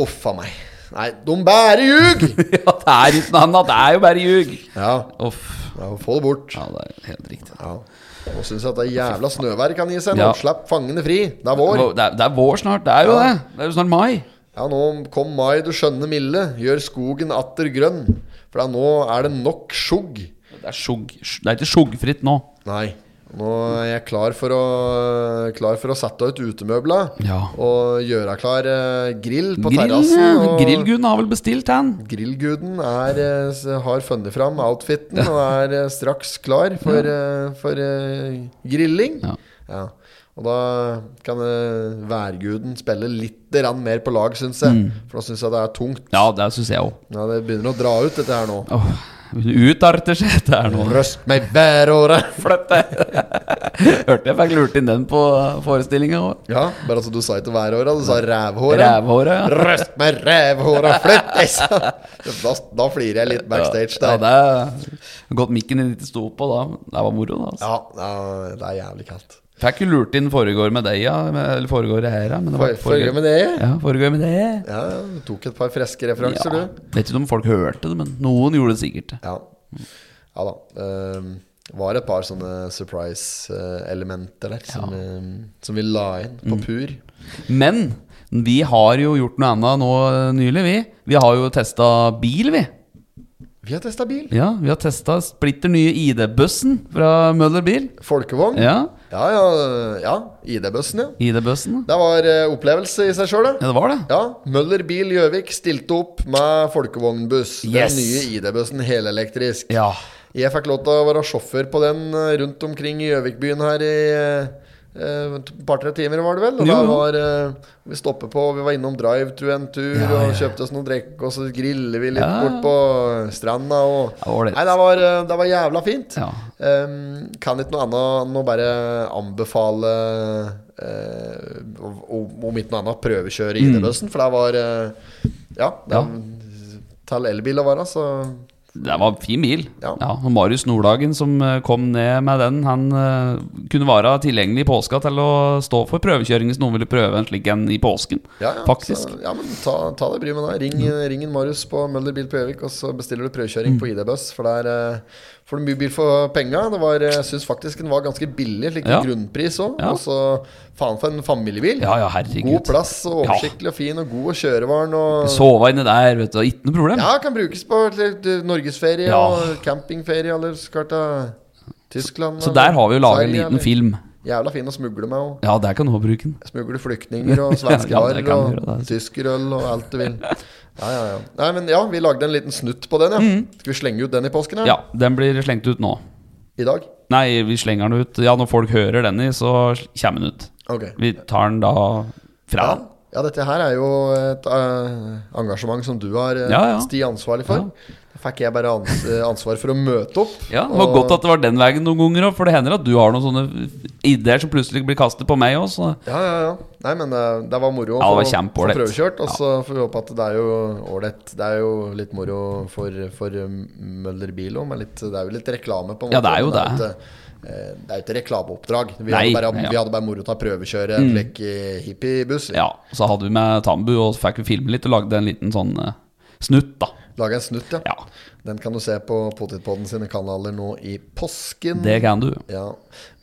A: Uff a meg. Nei, de bærer ljug!
B: [LAUGHS] Ja, det er ikke noe annet. Det er jo bare ljug.
A: Ja,
B: Uff.
A: ja, få det bort.
B: Ja, det er helt riktig.
A: Ja. Nå syns jeg at det jævla snøværet kan gi seg. Nå
B: Ja.
A: slapp fangene fri. Det er vår.
B: Vår- Det er, det er vår snart. Det er jo
A: Ja.
B: det. Det er jo snart mai.
A: Ja, nå kom mai, du skjønne milde. Gjør skogen atter grønn. For da nå er det nok skjugg.
B: Det er, sjugg, sj- det er ikke sjoggfritt nå.
A: Nei. Nå er jeg klar for å, klar for å sette ut utemøbla.
B: Ja.
A: Og gjøre klar eh, grill på
B: Grill,
A: terrassen. og-
B: Grillguden har vel bestilt den?
A: Grillguden er, eh, s- har funnet fram outfiten og er eh, straks klar for, eh, for eh, grilling.
B: Ja.
A: Ja. Og da kan eh, værguden spille litt rann mer på lag, syns jeg.
B: Mm.
A: For nå syns jeg det er tungt.
B: Ja, det syns jeg òg.
A: Ja, det begynner å dra ut, dette her nå.
B: Åh, Utarter seg dette her nå.
A: Røst meg væråret!
B: Flytte! Hørte jeg fikk lurt inn den på forestillinga òg.
A: Ja, bare altså du sa ikke væråret, du sa rævhåret.
B: Rævhåret, ja.
A: Røst meg rævhåra, flytt deg! sa- Da, da flirer jeg litt backstage der.
B: Ja, det er godt mikken din ikke sto på da. Det var moro, da. Altså.
A: Ja, ja, det er jævlig kaldt.
B: Fikk jo lurt inn foregår med deg, ja. med- Eller foregår det her, ja. Men det var
A: For,
B: ikke
A: for,
B: foregår.
A: men det,
B: Ja, foregår med det.
A: ja, du tok et par freske referanser,
B: Ja.
A: du.
B: Vet ikke om folk hørte det, men noen gjorde det sikkert.
A: Ja, ja da. Ehm, var et par sånne surprise-elementer der som, ehm, som vi la inn på
B: Mm.
A: pur.
B: Men vi har jo gjort noe annet nå eh, nylig, vi. Vi har jo testa bil, vi.
A: Vi har testa bil.
B: Ja, Vi har testa splitter nye ID-bussen fra Møller bil.
A: Folkevogn. Ja,
B: Ja,
A: ja. ja, ID-bussen, ja.
B: ID-bussen.
A: Det var eh, opplevelse i seg sjøl, det.
B: Ja, det var det.
A: Ja, Møller Bil Gjøvik stilte opp med folkevognbuss.
B: Yes.
A: Den nye ID-bussen helelektrisk.
B: Ja.
A: Jeg fikk lov til å være sjåfør på den eh, rundt omkring i Gjøvikbyen her i eh, et par-tre timer, var det vel. Og
B: Jo,
A: da
B: jo.
A: var eh, Vi stoppet på, vi var innom drive-thru en tur
B: Ja, ja, ja.
A: og kjøpte oss noe drikk, og så griller vi litt
B: Ja.
A: bort på eh, stranda og
B: Ja, ålreit.
A: Nei, det var, eh, det var jævla fint.
B: Ja.
A: Ehm, kan ikke noe annet enn å bare anbefale eh, om, om ikke noe annet, prøvekjøre ID-bussen, for det var eh, Ja, det
B: Mm. Ja.
A: til elbil å være, så
B: Det var en fin bil.
A: Ja.
B: Ja. og Marius Nordhagen som eh, kom ned med den, han eh, kunne være tilgjengelig i påska til å stå for prøvekjøring hvis noen ville prøve en slik en i påsken.
A: Ja, ja,
B: Faktisk. Mm.
A: Så, ja, men ta, ta deg bryet med det. Ring, ring en Marius på Møller Bil på Gjøvik, og så bestiller du prøvekjøring på ID-buss. For det er eh, Får du mye bil for penga. Det var, eh, Jeg syns faktisk den var ganske billig, slik
B: Ja.
A: grunnpris òg.
B: Ja.
A: Og så faen for en familiebil.
B: Ja, ja, herregud.
A: God plass og
B: Ja.
A: oversiktlig og fin, og god å kjøre var den. Og
B: Sove inni der, vet du. Ikke noe problem.
A: ja, kan brukes på til- til norgesferie
B: Ja.
A: og campingferie, eller skal til Tyskland.
B: Så
A: eller
B: der har vi jo laga en
A: Sverige,
B: liten
A: eller-
B: film.
A: Jævla fin å smugle med òg.
B: Ja, der kan du også bruke den.
A: Smugle flyktninger og svenske
B: [LAUGHS] Ja, det
A: varer
B: kan vi gjøre, det,
A: og
B: altså.
A: tyskerøl og alt du vil. Ja, ja, ja. Nei, men ja, vi lagde en liten snutt på den, ja. Skal vi slenge ut den i påsken,
B: Mm. Ja, den blir slengt ut nå.
A: I dag?
B: Nei, vi slenger den ut. Ja, når folk hører den i, så kommer den ut.
A: Ok.
B: Vi tar den da fra
A: Ja.
B: den.
A: ja, dette her er jo et eh, engasjement som du har, uh,
B: Ja, ja.
A: Sti, ansvarlig for. Da fikk jeg bare ans eh, ansvar for å møte opp.
B: Ja, Det var
A: og-
B: godt at det var den veien noen ganger òg, for det hender at du har noen sånne ideer som plutselig blir kastet på meg òg, så
A: Ja, ja, ja. Nei, men det, det var moro å
B: Ja, det
A: få-
B: var
A: få
B: kjempeålreit.
A: prøvekjørt. Og
B: Ja.
A: så får vi håpe at det er jo ålreit. Det er jo litt moro for, for um, Møller Bil òg, men litt, det er jo litt reklame, på en måte.
B: Ja, det er jo
A: men
B: det.
A: jo ikke, eh, det er jo ikke reklameoppdrag. Vi,
B: Nei,
A: hadde bare,
B: nei, ja.
A: vi hadde bare moro til å prøvekjøre en flekk i hippiebuss.
B: ja. Så hadde vi med Tambu, og så fikk vi filme litt og lagde en liten sånn eh, snutt, da.
A: Lage en snutt, ja.
B: Ja,
A: Den kan du se på Potipodden sine kanaler nå i påsken.
B: det kan du.
A: Ja.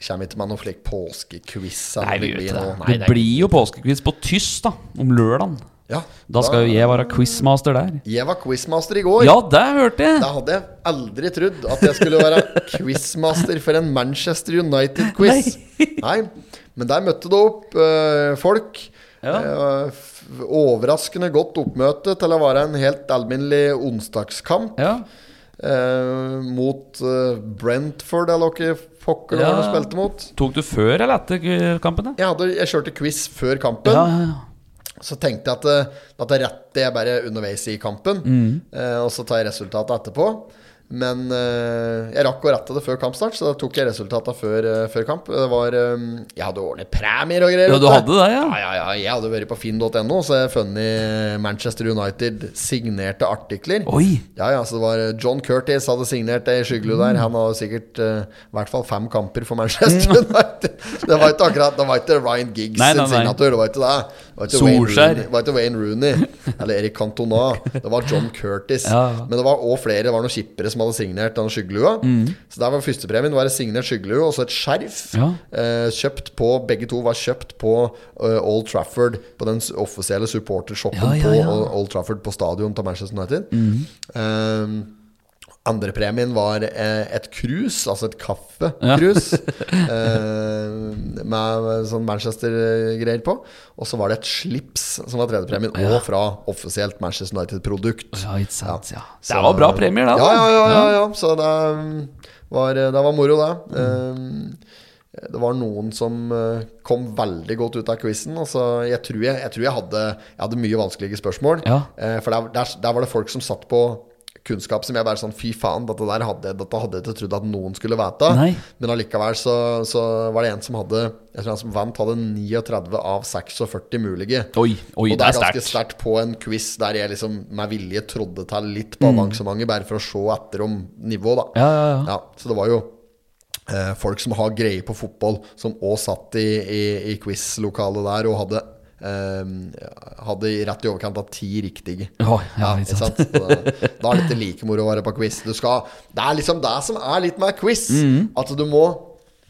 A: Kommer ikke med noen slik påskequiz. eller
B: Nei, vi
A: det
B: gjør
A: blir
B: ikke det.
A: noe-
B: Det blir jo påskekviss på tysk, da. Om lørdagen.
A: Ja,
B: Da skal jo jeg være quizmaster der.
A: Jeg var quizmaster i går.
B: Ja, det hørte jeg!
A: Da hadde jeg aldri trodd at jeg skulle være quizmaster for en Manchester United-quiz. Nei. Men der møtte det opp eh, folk.
B: Ja.
A: Eh, f- overraskende godt oppmøte til å være en helt alminnelig onsdagskamp
B: Ja,
A: eh, mot eh, Brentford, eller hva pokker det var de
B: Ja.
A: spilte mot.
B: Tok du før eller etter eh, kampen? da?
A: Jeg, hadde, jeg kjørte quiz før kampen.
B: Ja, ja, ja.
A: Så tenkte jeg at det, at det rette jeg bare underveis i kampen,
B: Mm.
A: eh, og så tar jeg resultatet etterpå. Men eh, jeg rakk å rette det før kampstart, så da tok jeg resultatene før, eh, før kamp. Det var, eh, jeg hadde ordnet premier og greier.
B: Ja,
A: vet
B: du hadde det, ja.
A: Ja, ja, ja. Jeg hadde vært på finn.no, så jeg funnet Manchester United signerte artikler.
B: Oi!
A: Ja, ja, så det var eh, John Curtis hadde signert det i Skyggelud der. Han hadde sikkert eh, i hvert fall fem kamper for
B: [LAUGHS]
A: Manchester [LAUGHS] United. Det var ikke akkurat Det var ikke Ryan Giggs
B: Nei, nei,
A: sin
B: nei.
A: signatur. Det var ikke det. Det var ikke Wayne
B: Solskjær.
A: Rooney, det var ikke Wayne Rooney eller Erik Cantona. Det var John Curtis.
B: Ja, ja.
A: Men det var òg flere. Det var noen skippere som hadde signert den skyggelua. Så der var førstepremien. Det var en signert skyggelue og så et skjerf.
B: Mm. Ja.
A: Eh, kjøpt på Begge to var kjøpt på eh, Old Trafford, på den s- offisielle supportershoppen
B: Ja, ja, ja. Mhm.
A: på Old- Old Trafford, på stadion til Manchester United. Eh, Andrepremien var eh, et krus, altså et
B: [LAUGHS]
A: kaffekrus, eh, med sånn Manchester-greier på. Og så var det et slips som var tredjepremien, og fra offisielt Manchester United-produkt.
B: Ja, ikke sant, ja.
A: Så-
B: Det var bra premier, da.
A: Ja, ja, ja. ja, ja. Så det um, var, det var moro, det. Um, Det var noen som uh, kom veldig godt ut av quizen. Altså, jeg tror jeg, jeg, tror jeg, hadde, jeg hadde mye vanskelige spørsmål.
B: Ja.
A: Eh, For der, der, der var det folk som satt på kunnskap som jeg bare sånn Fy faen, dette der hadde, dette hadde jeg ikke trodd at noen skulle vite.
B: Nei.
A: Men allikevel så, så var det en som hadde Jeg tror han som vant, hadde 39 av 46 mulige.
B: Oi, oi,
A: og
B: det
A: det
B: er
A: er ganske
B: sterkt.
A: sterkt på en quiz der jeg liksom med vilje trådde til litt på avansementet, bare for å se etter om nivå, da.
B: Mm. Ja, ja, ja.
A: så det var jo eh, folk som har greie på fotball, som òg satt i, i, i quiz-lokalet der og hadde eh, hadde i rett i overkant av ti riktige.
B: Oi,
A: Ja,
B: ja, ikke
A: ikke
B: sant.
A: sant? Så Da, da er det ikke like moro å være på quiz. Du skal, det er liksom det som er litt med quiz.
B: Mm.
A: At du må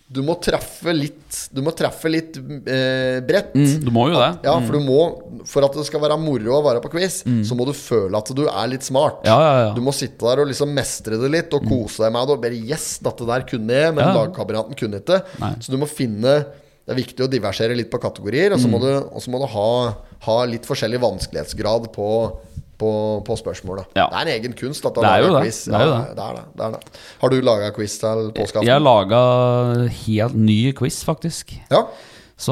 A: Du må treffe litt Du må treffe litt eh, bredt.
B: Mm, du må jo det.
A: Ja, for du må For at det skal være moro å være på quiz, så må du føle at du er litt smart.
B: Ja, ja, ja. Mm.
A: Du må sitte der og liksom mestre det litt og kose deg med det. Og bare 'yes, dette der kunne jeg', men
B: Ja.
A: lagkameraten kunne ikke.
B: Nei.
A: Så du må finne Det er viktig å diversere litt på kategorier, og så
B: Mm.
A: må du, og så må du ha, ha litt forskjellig vanskelighetsgrad på på, på spørsmål, da.
B: Ja.
A: Det er en egen kunst. At
B: Det er jo det.
A: Quiz.
B: Det er jo
A: Ja,
B: det.
A: det, er det. det er det. Har du laga quiz til
B: Jeg
A: påskeaften?
B: laga helt ny quiz, faktisk.
A: Ja.
B: Så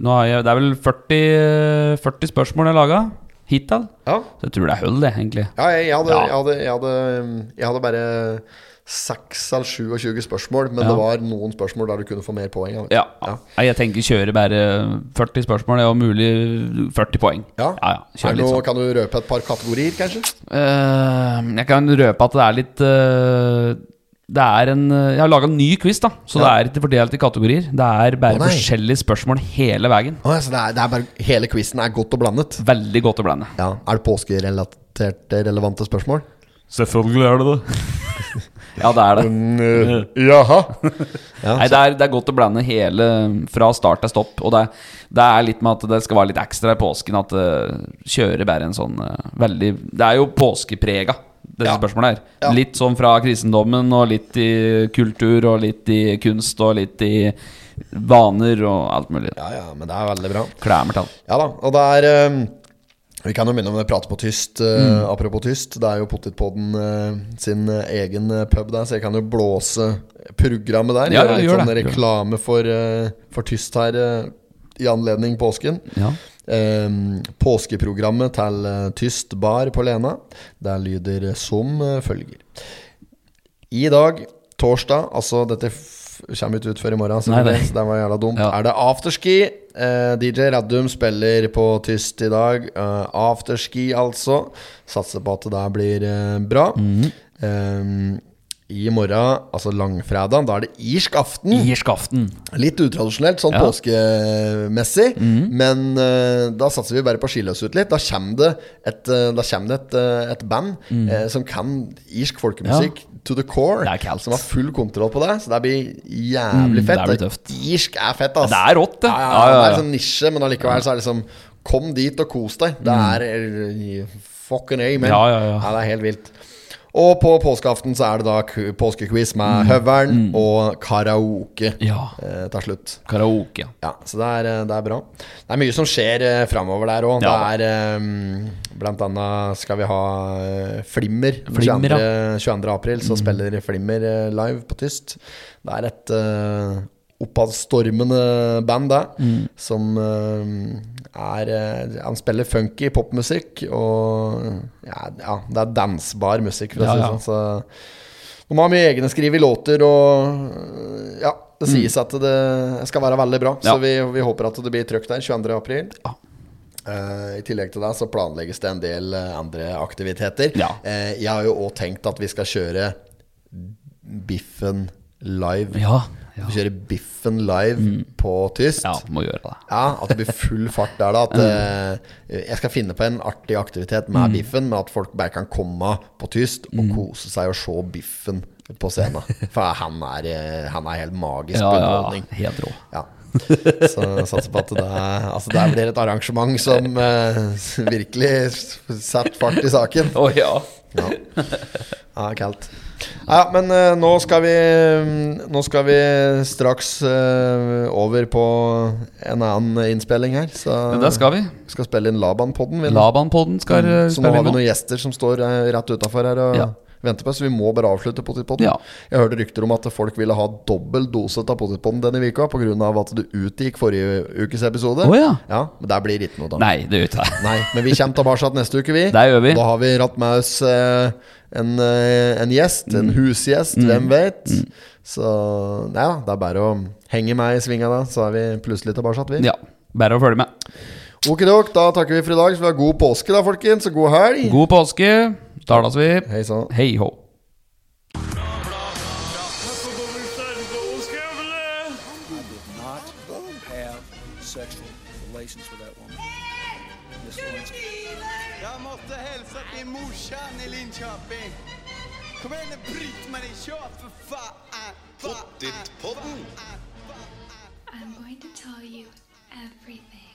B: nå har jeg Det er vel 40, 40 spørsmål jeg laga hittil.
A: ja.
B: Så jeg tror det er hull, det, egentlig.
A: Ja, jeg, jeg, hadde,
B: Ja.
A: jeg, hadde, jeg, hadde, jeg hadde bare 6 eller 27 spørsmål, men
B: Ja.
A: det var noen spørsmål der du kunne få mer poeng. vet du.
B: Ja. Nei, Jeg tenker kjøre bare 40 spørsmål, det er jo mulig 40 poeng.
A: Ja.
B: ja,
A: Er
B: Kjøre
A: det
B: litt
A: noe-
B: sånn.
A: Kan du røpe et par kategorier, kanskje?
B: Eh, jeg kan røpe at det er litt eh, Det er en eh, Jeg har laga en ny quiz, da. Så det
A: Ja.
B: er ikke fordelt i kategorier. Det er
A: Å,
B: bare
A: nei.
B: forskjellige spørsmål hele veien.
A: Å, altså, det er, det er bare, hele quizen er godt og blandet.
B: Veldig godt å blande.
A: Ja, Er det påskerelaterte relevante spørsmål?
B: Selvfølgelig er det det. [LAUGHS] Ja, det er det.
A: Mm, Jaha.
B: [LAUGHS]
A: Ja,
B: Nei, det er, det er godt å blande hele fra start til stopp. Og det, det er litt med at det skal være litt ekstra i påsken at uh, kjøret bærer en sånn eh, veldig Det er jo påskeprega, dette
A: Ja.
B: spørsmålet her.
A: Ja.
B: Litt sånn fra kristendommen og litt i kultur og litt i kunst og litt i vaner og alt mulig.
A: ja, ja, men det er veldig bra.
B: Klemmer til han.
A: Ja da, og det er eh, Vi kan jo minne om det pratet på tyst.
B: Mm.
A: eh, Apropos tyst, det er jo Pottitpodden eh, sin eh, egen eh, pub der, så jeg kan jo blåse programmet der.
B: Ja,
A: gjøre
B: ja,
A: litt
B: gjør
A: sånn
B: det.
A: reklame for, eh, for tyst her eh, i anledning påsken.
B: Ja.
A: Eh, påskeprogrammet til eh, Tyst bar på Lena. Der lyder som eh, følger. I dag, torsdag, altså dette f kommer ikke ut før i morgen,
B: Nei, nei.
A: selvfølgelig, så det var jævla dumt.
B: Ja.
A: Er det afterski? Eh, DJ Radum spiller på Tyst i dag. Eh, afterski, altså. Satser på at det der blir eh, bra.
B: Mhm.
A: Eh, I morgen, altså langfredag, da er det irsk aften.
B: Irsk aften.
A: Litt utradisjonelt, sånn
B: Ja. Mhm.
A: påskemessig. Men eh, da satser vi bare på å skille oss ut litt. Da kommer det et, eh, da kommer det et, eh, et band eh, som kan irsk folkemusikk to the core.
B: Mhm. Det er kaldt.
A: Som har full kontroll på det. Så det blir jævlig
B: Mm,
A: fett.
B: det blir tøft.
A: Irsk er fett, ass.
B: Det er rått, det.
A: Ja, ja,
B: Ja,
A: ja,
B: ja,
A: Det
B: ja.
A: er sånn nisje, men allikevel så er det liksom Kom dit og kos deg. Det er eh, fucking amen.
B: Mm. Ja, ja, ja.
A: det er helt vilt. Og på påskeaften så er det da ku- påskequiz
B: Mm.
A: med Høveren og karaoke
B: Ja.
A: eh, til slutt.
B: Karaoke.
A: Ja, så det er, eh, det er bra. Det er mye som skjer eh, framover der òg.
B: Ja.
A: Det er eh, blant annet skal vi ha eh, Flimmer.
B: Flimmer, Mm.
A: 22. 22. april så spiller Flimmer eh, live på Tyst. Det er et eh, oppadstormende band, det.
B: Mm.
A: Som eh, er eh, Han spiller funky popmusikk og ja, ja, det er dansbar musikk, for å
B: Ja,
A: si
B: ja.
A: det sånn. Så de har mye egne skriv i låter, og ja, det sies at det skal være veldig bra.
B: Mm. Ja.
A: Så vi, vi håper at det blir trøkk der 22. april.
B: Ja.
A: Eh, I tillegg til det så planlegges det en del eh, andre aktiviteter.
B: Ja.
A: Eh, jeg har jo òg tenkt at vi skal kjøre Biffen live.
B: Ja. ja.
A: Vi kjører Biffen live på tyst.
B: Ja, må gjøre det.
A: Ja, at det blir full fart der, da. At eh, jeg skal finne på en artig aktivitet med
B: Mm.
A: biffen, men at folk bare kan komme på tyst og kose seg og se biffen på scenen. For han er, eh, han er helt magisk
B: Ja,
A: på
B: ja.
A: underholdning.
B: Helt rå.
A: Ja. Så jeg satser på at det er, altså der blir et arrangement som eh, virkelig setter fart i saken.
B: Å ja.
A: Ja, [LAUGHS] ja kaldt. Ja, men eh, nå skal vi mm, Nå skal vi straks eh, over på en annen innspilling her. Så
B: Men der skal vi.
A: vi skal spille inn Laban-podden. vi nå.
B: Laban-podden skal eh,
A: Så nå
B: spille
A: har
B: inn
A: vi
B: nå.
A: noen gjester som står eh, rett utafor her og
B: Ja.
A: venter på oss. Så vi må bare avslutte Potetpodden.
B: Ja.
A: Jeg hørte rykter om at folk ville ha dobbel dose av Potetpodden denne uka pga. at det utgikk forrige ukes episode.
B: Å ja.
A: Men der blir det ikke noe, da.
B: Nei, det gjør ikke [LAUGHS] det.
A: Nei, men vi kommer tilbake neste uke, vi.
B: Det gjør vi.
A: Da har vi ratt med oss eh, en, eh, en gjest, en
B: Mm.
A: husgjest, hvem vet. Så ja, det er bare å henge meg i svinga da, så er vi plutselig tilbake, vi.
B: Ja. Bare å følge med.
A: Okidok, da takker vi for i dag. Så vi har god påske, da, folkens, og god helg.
B: God påske. Tales vi.
A: Hei sann.
B: Hei ho.
C: You did not have sexual relations with that woman. Miss Lewinsky.
D: Jag måste hälsa till morsan i Linköping. Kom igen nu Britt-Marie, kör för fan! Pottitpodden!
E: I'm going to tell you everything.